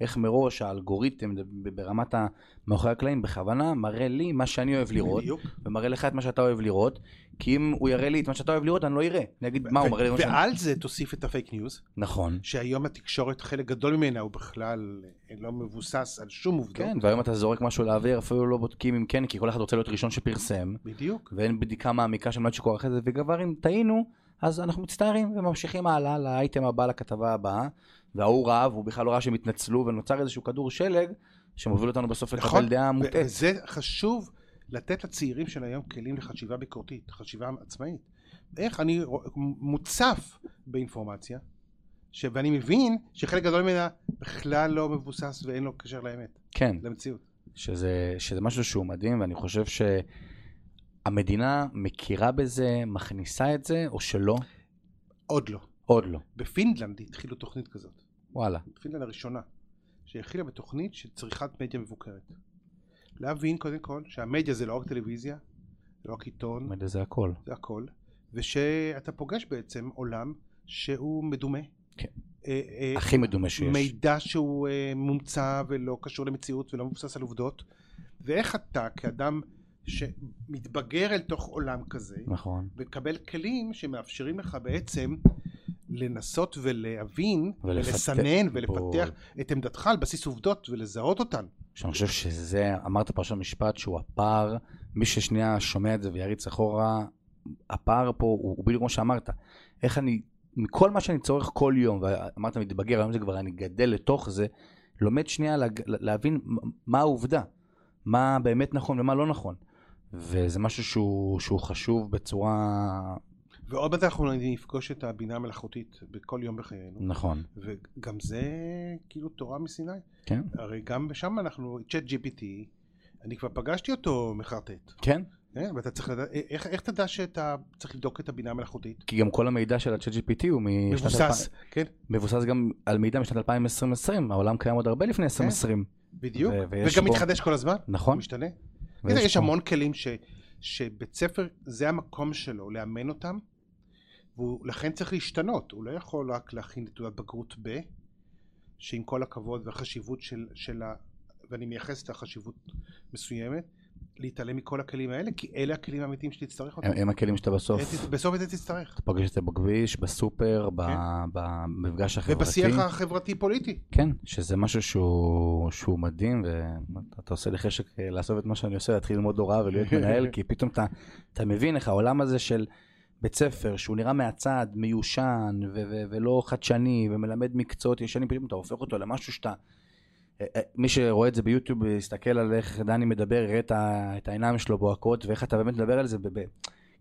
B: איך מראש האלגוריתם ב- ברמת ה- מאחורי הקלעים בכוונה מראה לי מה שאני אוהב לראות,
C: בדיוק.
B: ומראה לך את מה שאתה אוהב לראות, כי אם הוא יראה לי את מה שאתה אוהב לראות אני לא אראה. אני אגיד מה הוא
C: ו-
B: מראה לי? מה שאני-"
C: ועל זה תוסיף את הפייק ניוז,
B: נכון.
C: שהיום התקשורת, חלק גדול ממנה הוא בכלל אה, לא מבוסס על שום עובדות.
B: כן, והיום אתה זורק משהו לאוויר, אפילו לא בודקים אם כן, כי כל אחד רוצה להיות ראשון שפרסם,
C: בדיוק.
B: ואין בדיקה מעמיקה של מה שקורה אחרי זה, וגבר אם טעינו, אז אנחנו מצטערים וממשיכים הלאה לאייטם הבא, לכתבה הבאה, וההוא רב, הוא בכלל לא ראה שהם התנצלו, ונוצר איזשהו כדור שלג, שמוביל אותנו בסוף
C: נכון,
B: לקבל דעה
C: ו-
B: מוטעת.
C: וזה חשוב לתת לצעירים של היום כלים לחשיבה ביקורתית, חשיבה עצמאית. איך אני רוא- מוצף באינפורמציה, ש... ואני מבין שחלק גדול ממנה בכלל לא מבוסס ואין לו קשר לאמת,
B: כן,
C: למציאות.
B: שזה, שזה משהו שהוא מדהים, ואני חושב שהמדינה מכירה בזה, מכניסה את זה, או שלא?
C: עוד לא.
B: עוד לא.
C: בפינדלנד התחילו תוכנית כזאת.
B: וואלה.
C: פינלנד הראשונה, שהכילה בתוכנית של צריכת מדיה מבוקרת. להבין קודם כל שהמדיה זה לא רק טלוויזיה, זה לא רק עיתון,
B: מדע זה הכל.
C: זה הכל, ושאתה פוגש בעצם עולם שהוא מדומה.
B: כן.
C: אה, אה,
B: הכי מדומה שיש.
C: מידע שהוא אה, מומצא ולא קשור למציאות ולא מבוסס על עובדות, ואיך אתה כאדם שמתבגר אל תוך עולם כזה,
B: נכון.
C: מקבל כלים שמאפשרים לך בעצם לנסות ולהבין
B: ולפתח-
C: ולסנן ולפתח
B: בול.
C: את עמדתך על בסיס עובדות ולזהות אותן.
B: שאני חושב שזה, אמרת פרשת משפט שהוא הפער, מי ששנייה שומע את זה ויריץ אחורה, הפער פה הוא, הוא בדיוק כמו שאמרת. איך אני, מכל מה שאני צורך כל יום, ואמרת מתבגר, היום זה כבר אני גדל לתוך זה, לומד שנייה לה, להבין מה העובדה, מה באמת נכון ומה לא נכון. וזה משהו שהוא, שהוא חשוב בצורה...
C: ועוד מעט אנחנו נפגוש את הבינה המלאכותית בכל יום בחיינו,
B: נכון.
C: וגם זה כאילו תורה מסיני.
B: כן?
C: הרי גם שם אנחנו, צ'אט GPT, אני כבר פגשתי אותו מחרטט.
B: כן?
C: כן, ואתה צריך לדעת, איך, איך תדע שאתה צריך לבדוק את הבינה המלאכותית?
B: כי גם כל המידע של ה-chat GPT הוא משנת...
C: מבוסס,
B: אלפיים-
C: כן,
B: מבוסס גם על מידע משנת 2020, העולם קיים עוד הרבה לפני 2020.
C: בדיוק,
B: ו- ויש
C: וגם
B: בו-
C: מתחדש כל הזמן, הוא
B: נכון?
C: משתנה.
B: ויש
C: יש, יש
B: פה-
C: המון כלים ש, שבית ספר, זה המקום שלו, לאמן אותם, והוא לכן צריך להשתנות, הוא לא יכול רק להכין לתעודת בגרות ב, שעם כל הכבוד והחשיבות של, של ה... ואני מייחס לה חשיבות מסוימת, להתעלם מכל הכלים האלה, כי אלה הכלים האמיתיים שתצטרך אותם.
B: הם, הם הכלים שאתה
C: אה,
B: בסוף
C: בסוף את זה תצטרך.
B: פוגש את זה בכביש, בסופר, ב, במפגש החברתי.
C: כן. ובשיח החברתי-פוליטי.
B: כן, שזה משהו שהוא, שהוא מדהים, ואתה עושה לי חשק אה, לעזוב את מה שאני עושה, להתחיל ללמוד הוראה ולהיות מנהל, כי פתאום אתה, אתה מבין איך העולם הזה של בית ספר, שהוא נראה מהצד מיושן ו- ו- ולא חדשני, ומלמד מקצועות ישנים, פתאום אתה הופך אותו למשהו שאתה... אה, אה, מי שרואה את זה ביוטיוב, יסתכל על איך דני מדבר, יראה את, ה- את העיניים שלו בוהקות, ואיך אתה באמת מדבר על זה. ב- ב-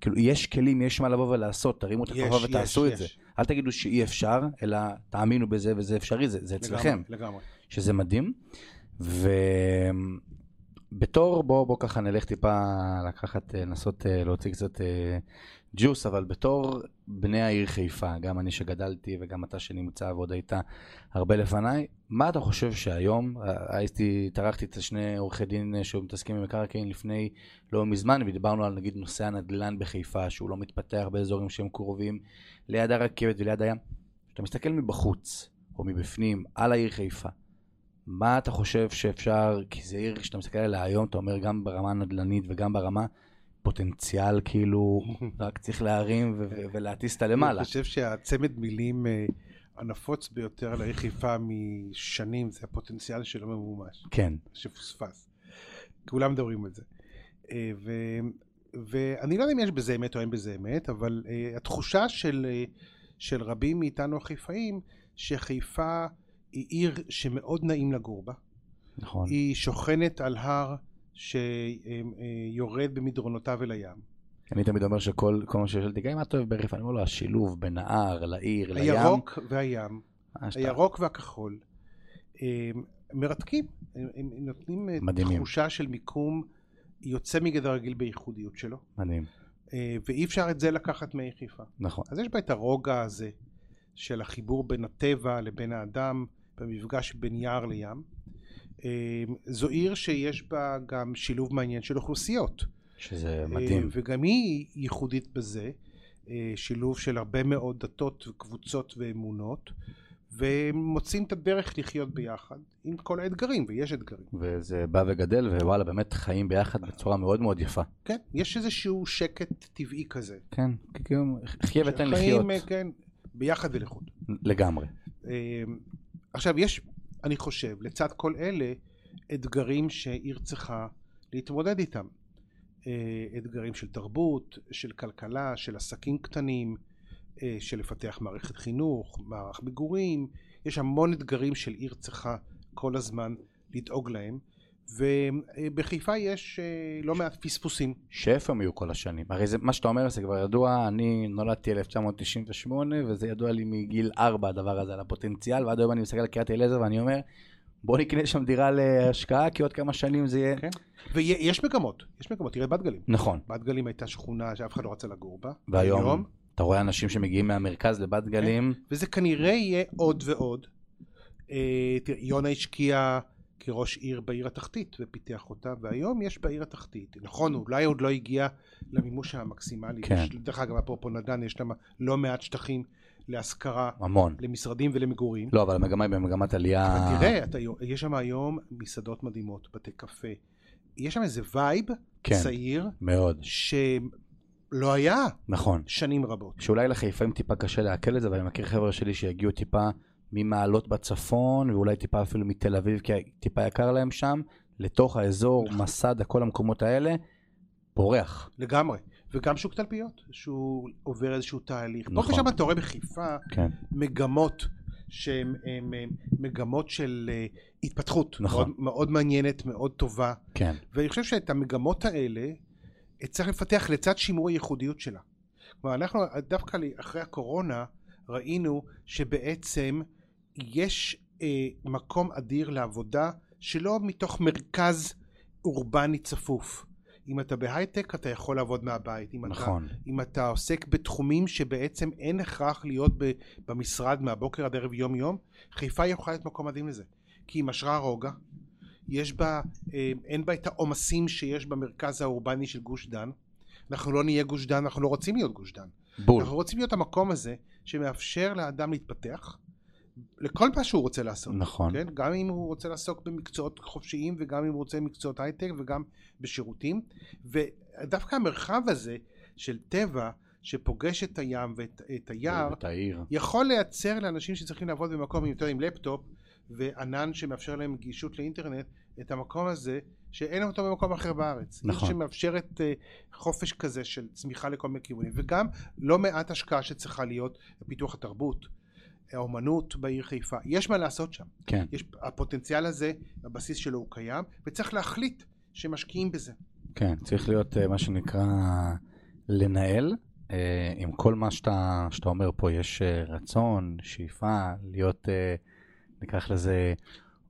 B: כאילו, יש כלים, יש מה לבוא ולעשות, תרימו את הכפפה ותעשו את זה. אל תגידו שאי אפשר, אלא תאמינו בזה וזה אפשרי, זה, זה אצלכם.
C: לגמרי, לגמרי.
B: שזה מדהים. ובתור, בוא, בוא ככה נלך טיפה לקחת, אה, לנסות אה, להוציא קצת אה, ג'וס, אבל בתור בני העיר חיפה, גם אני שגדלתי וגם אתה שנמצא ועוד היית הרבה לפניי, מה אתה חושב שהיום, אה, הייתי, טרחתי את שני עורכי דין אה, שמתעסקים עם מקרקעין לפני לא מזמן, ודיברנו על נגיד נושא הנדל"ן בחיפה, שהוא לא מתפתח באזורים שהם קרובים ליד הרכבת וליד הים. כשאתה מסתכל מבחוץ, או מבפנים, על העיר חיפה, מה אתה חושב שאפשר, כי זו עיר שאתה מסתכל עליה היום, אתה אומר גם ברמה הנדל"נית וגם ברמה פוטנציאל, כאילו, רק צריך להרים ו- ו- ולהטיס אותה למעלה.
C: אני חושב שהצמד מילים אה, הנפוץ ביותר לעיר חיפה משנים זה הפוטנציאל שלא ממומש,
B: כן,
C: שפוספס. כולם מדברים על זה. אה, ו... ואני לא יודע אם יש בזה אמת או אין בזה אמת, אבל אה, התחושה של, אה, של רבים מאיתנו החיפאים, שחיפה היא עיר שמאוד נעים לגור בה.
B: נכון.
C: היא שוכנת על הר שיורד במדרונותיו אל הים.
B: אני תמיד אומר שכל כל מה שיש לי, גם אם את אוהב בחיפה, אני אומר לו, השילוב בין ההר לעיר, לים.
C: הירוק והים,
B: אה, שאתה-
C: הירוק והכחול, אה, מרתקים, הם הם נותנים אה,
B: מדהימים.
C: תחושה של מיקום יוצא מגדר הרגיל בייחודיות שלו,
B: מדהים,
C: אה, ואי אפשר את זה לקחת מהעיר חיפה.
B: נכון.
C: אז יש בה את הרוגע הזה של החיבור בין הטבע לבין האדם במפגש בין יער לים. אה, זו עיר שיש בה גם שילוב מעניין של אוכלוסיות.
B: שזה
C: אה,
B: מדהים.
C: וגם היא ייחודית בזה, אה, שילוב של הרבה מאוד דתות וקבוצות ואמונות, ומוצאים את הדרך לחיות ביחד עם כל האתגרים, ויש אתגרים.
B: וזה בא וגדל, ווואלה, באמת חיים ביחד בצורה מאוד מאוד יפה.
C: כן, יש איזשהו שקט טבעי כזה.
B: כן, כאילו, חיה ותן לחיות.
C: שחיים, אה, כן, ביחד ולחוד.
B: לגמרי.
C: אה, עכשיו, יש, אני חושב, לצד כל אלה, אתגרים שעיר צריכה להתמודד איתם. אה, אתגרים של תרבות, של כלכלה, של עסקים קטנים, אה, של לפתח מערכת חינוך, מערך מגורים. יש המון אתגרים של עיר צריכה כל הזמן לדאוג להם, ובחיפה יש אה, לא מעט פספוסים.
B: שאיפה הם יהיו כל השנים. הרי זה, מה שאתה אומר זה כבר ידוע, אני נולדתי 1998, וזה ידוע לי מגיל 4 הדבר הזה, על הפוטנציאל, ועד היום אני מסתכל על קריית אליעזר ואני אומר, בוא נקנה שם דירה להשקעה, כי עוד כמה שנים זה יהיה...
C: כן. ויש מגמות, יש מגמות, תראה בת גלים.
B: נכון.
C: בת גלים הייתה שכונה שאף אחד לא רצה לגור בה.
B: והיום? אתה רואה אנשים שמגיעים מהמרכז לבת
C: כן.
B: גלים,
C: וזה כנראה יהיה עוד ועוד. אה, תראה, יונה השקיע כראש עיר בעיר התחתית ופיתח אותה, והיום יש בעיר התחתית. נכון, אולי עוד לא הגיע למימוש המקסימלי.
B: כן.
C: יש, דרך אגב, אפרופו נדן, יש שם לא מעט שטחים להשכרה,
B: המון.
C: למשרדים ולמגורים.
B: לא, אבל המגמה היא במגמת עלייה...
C: אבל תראה, אתה, יש שם היום מסעדות מדהימות, בתי קפה. יש שם איזה וייב
B: כן.
C: צעיר
B: מאוד.
C: שלא היה
B: נכון.
C: שנים רבות.
B: שאולי לחיפאים טיפה קשה לעכל את זה, אבל אני מכיר חבר'ה שלי שיגיעו טיפה ממעלות בצפון, ואולי טיפה אפילו מתל אביב, כי טיפה יקר להם שם, לתוך האזור, מסדה, כל המקומות האלה, בורח.
C: לגמרי. וגם שוק תלפיות, שהוא עובר איזשהו תהליך. נכון.
B: נכון.
C: פה ושם אתה רואה בחיפה
B: כן.
C: מגמות שהן הן, הן, מגמות של אה, התפתחות.
B: נכון.
C: מאוד, מאוד מעניינת, מאוד טובה.
B: כן.
C: ואני חושב שאת המגמות האלה אה, צריך לפתח לצד שימור הייחודיות שלה. כלומר, אנחנו אה, דווקא ל- אחרי הקורונה ראינו שבעצם יש אה, מקום אדיר לעבודה שלא מתוך מרכז אורבני צפוף. אם אתה בהייטק אתה יכול לעבוד מהבית, אם, אתה,
B: נכון.
C: אם אתה עוסק בתחומים שבעצם אין הכרח להיות ב, במשרד מהבוקר עד ערב יום יום, חיפה יכולה להיות מקום מדהים לזה. כי היא משרה רוגע, יש בה, אה, אין בה את העומסים שיש במרכז האורבני של גוש דן. אנחנו לא נהיה גוש דן, אנחנו לא רוצים להיות גוש דן.
B: בול.
C: אנחנו רוצים להיות המקום הזה שמאפשר לאדם להתפתח לכל מה שהוא רוצה לעשות.
B: נכון.
C: כן? גם אם הוא רוצה לעסוק במקצועות חופשיים וגם אם הוא רוצה מקצועות הייטק וגם בשירותים. ודווקא המרחב הזה של טבע שפוגש את הים ואת את היער
B: את העיר.
C: יכול לייצר לאנשים שצריכים לעבוד במקום יותר עם לפטופ וענן שמאפשר להם גישות לאינטרנט את המקום הזה שאין אותו במקום אחר בארץ. עיר
B: נכון.
C: שמאפשרת אה, חופש כזה של צמיחה לכל מיני כיוונים וגם לא מעט השקעה שצריכה להיות בפיתוח התרבות, האומנות בעיר חיפה. יש מה לעשות שם.
B: כן.
C: יש, הפוטנציאל הזה, הבסיס שלו הוא קיים וצריך להחליט שמשקיעים בזה.
B: כן, צריך להיות אה, מה שנקרא לנהל. אה, עם כל מה שאתה, שאתה אומר פה, יש אה, רצון, שאיפה, להיות, אה, ניקח לזה,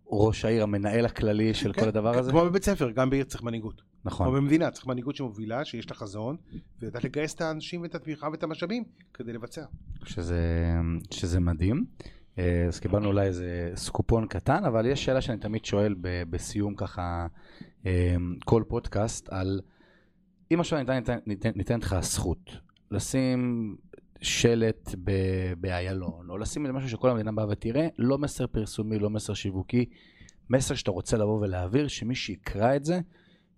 B: ראש העיר, המנהל הכללי של כל הדבר הזה.
C: כמו בבית ספר, גם בעיר צריך מנהיגות.
B: נכון.
C: או במדינה, צריך מנהיגות שמובילה, שיש לה חזון, ויודעת לגייס את האנשים ואת התמיכה ואת המשאבים כדי לבצע.
B: שזה, שזה מדהים. אה, אז קיבלנו אולי איזה סקופון קטן, אבל יש שאלה שאני תמיד שואל ב, בסיום ככה אה, כל פודקאסט, על אם עכשיו ניתן, ניתן, ניתן, ניתן לך הזכות לשים שלט ב, באיילון, או לשים איזה משהו שכל המדינה באה ותראה, לא מסר פרסומי, לא מסר שיווקי, מסר שאתה רוצה לבוא ולהעביר, שמי שיקרא את זה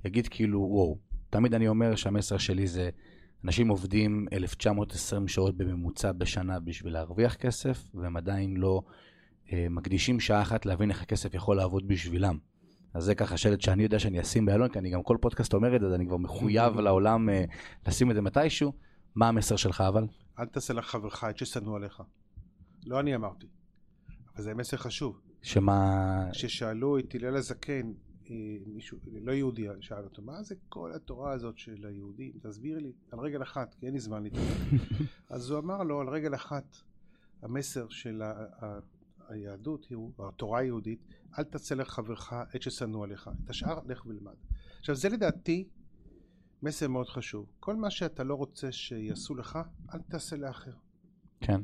B: יגיד כאילו, וואו, תמיד אני אומר שהמסר שלי זה אנשים עובדים 1920 שעות בממוצע בשנה בשביל להרוויח כסף, והם עדיין לא אה, מקדישים שעה אחת להבין איך הכסף יכול לעבוד בשבילם. אז זה ככה שלט שאני יודע שאני אשים באלון, כי אני גם כל פודקאסט אומר את זה, אז אני כבר מחויב לעולם אה, לשים את זה מתישהו. מה המסר שלך אבל?
C: אל תעשה לחברך את ששנוא עליך. לא אני אמרתי. אבל זה מסר חשוב.
B: שמה...
C: כששאלו את הלל הזקן, אה, מישהו, לא יהודי, שאל אותו, מה זה כל התורה הזאת של היהודים? תסביר לי, על רגל אחת, כי אין לי זמן להתאר. אז הוא אמר לו, על רגל אחת, המסר של ה- ה- היהדות, הוא- התורה היהודית, אל תצא לחברך עת ששנוא עליך, את השאר לך ולמד. עכשיו זה לדעתי מסר מאוד חשוב. כל מה שאתה לא רוצה שיעשו לך, אל תעשה לאחר.
B: כן,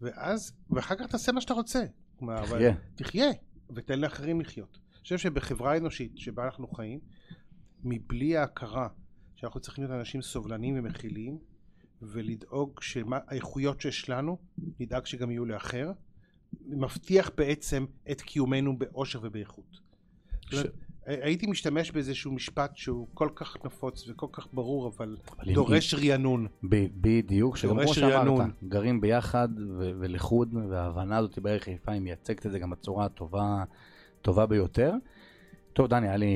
C: ואז, ואחר כך תעשה מה שאתה רוצה. כלומר, אבל-
B: תחיה.
C: תחיה, ותן לאחרים לחיות. אני חושב שבחברה האנושית שבה אנחנו חיים, מבלי ההכרה שאנחנו צריכים להיות אנשים סובלניים ומכילים, ולדאוג שהאיכויות שיש לנו, נדאג שגם יהיו לאחר, מבטיח בעצם את קיומנו באושר ובאיכות.
B: ש-
C: זאת אומרת, הייתי משתמש באיזשהו משפט שהוא כל כך נפוץ וכל כך ברור, אבל
B: אבל אם-
C: דורש רענון.
B: ב- בדיוק, שגם
C: דורש
B: כמו שאמרת,
C: רענון.
B: גרים ביחד ו- ולחוד, וההבנה הזאת בערך חיפה, היא מייצגת את זה גם בצורה הטובה הטובה ביותר. טוב, דני, היה לי,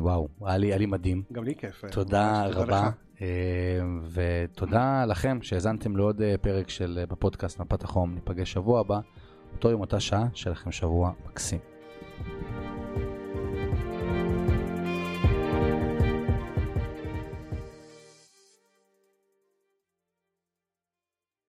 B: וואו, היה לי, היה לי מדהים.
C: גם לי כיף.
B: תודה
C: כן, ממש,
B: רבה,
C: לך.
B: אה, ותודה לכם שהאזנתם לעוד אה, פרק של אה, בפודקאסט מפת החום. ניפגש שבוע הבא, אותו יום, אותה שעה, שיהיה לכם שבוע מקסים.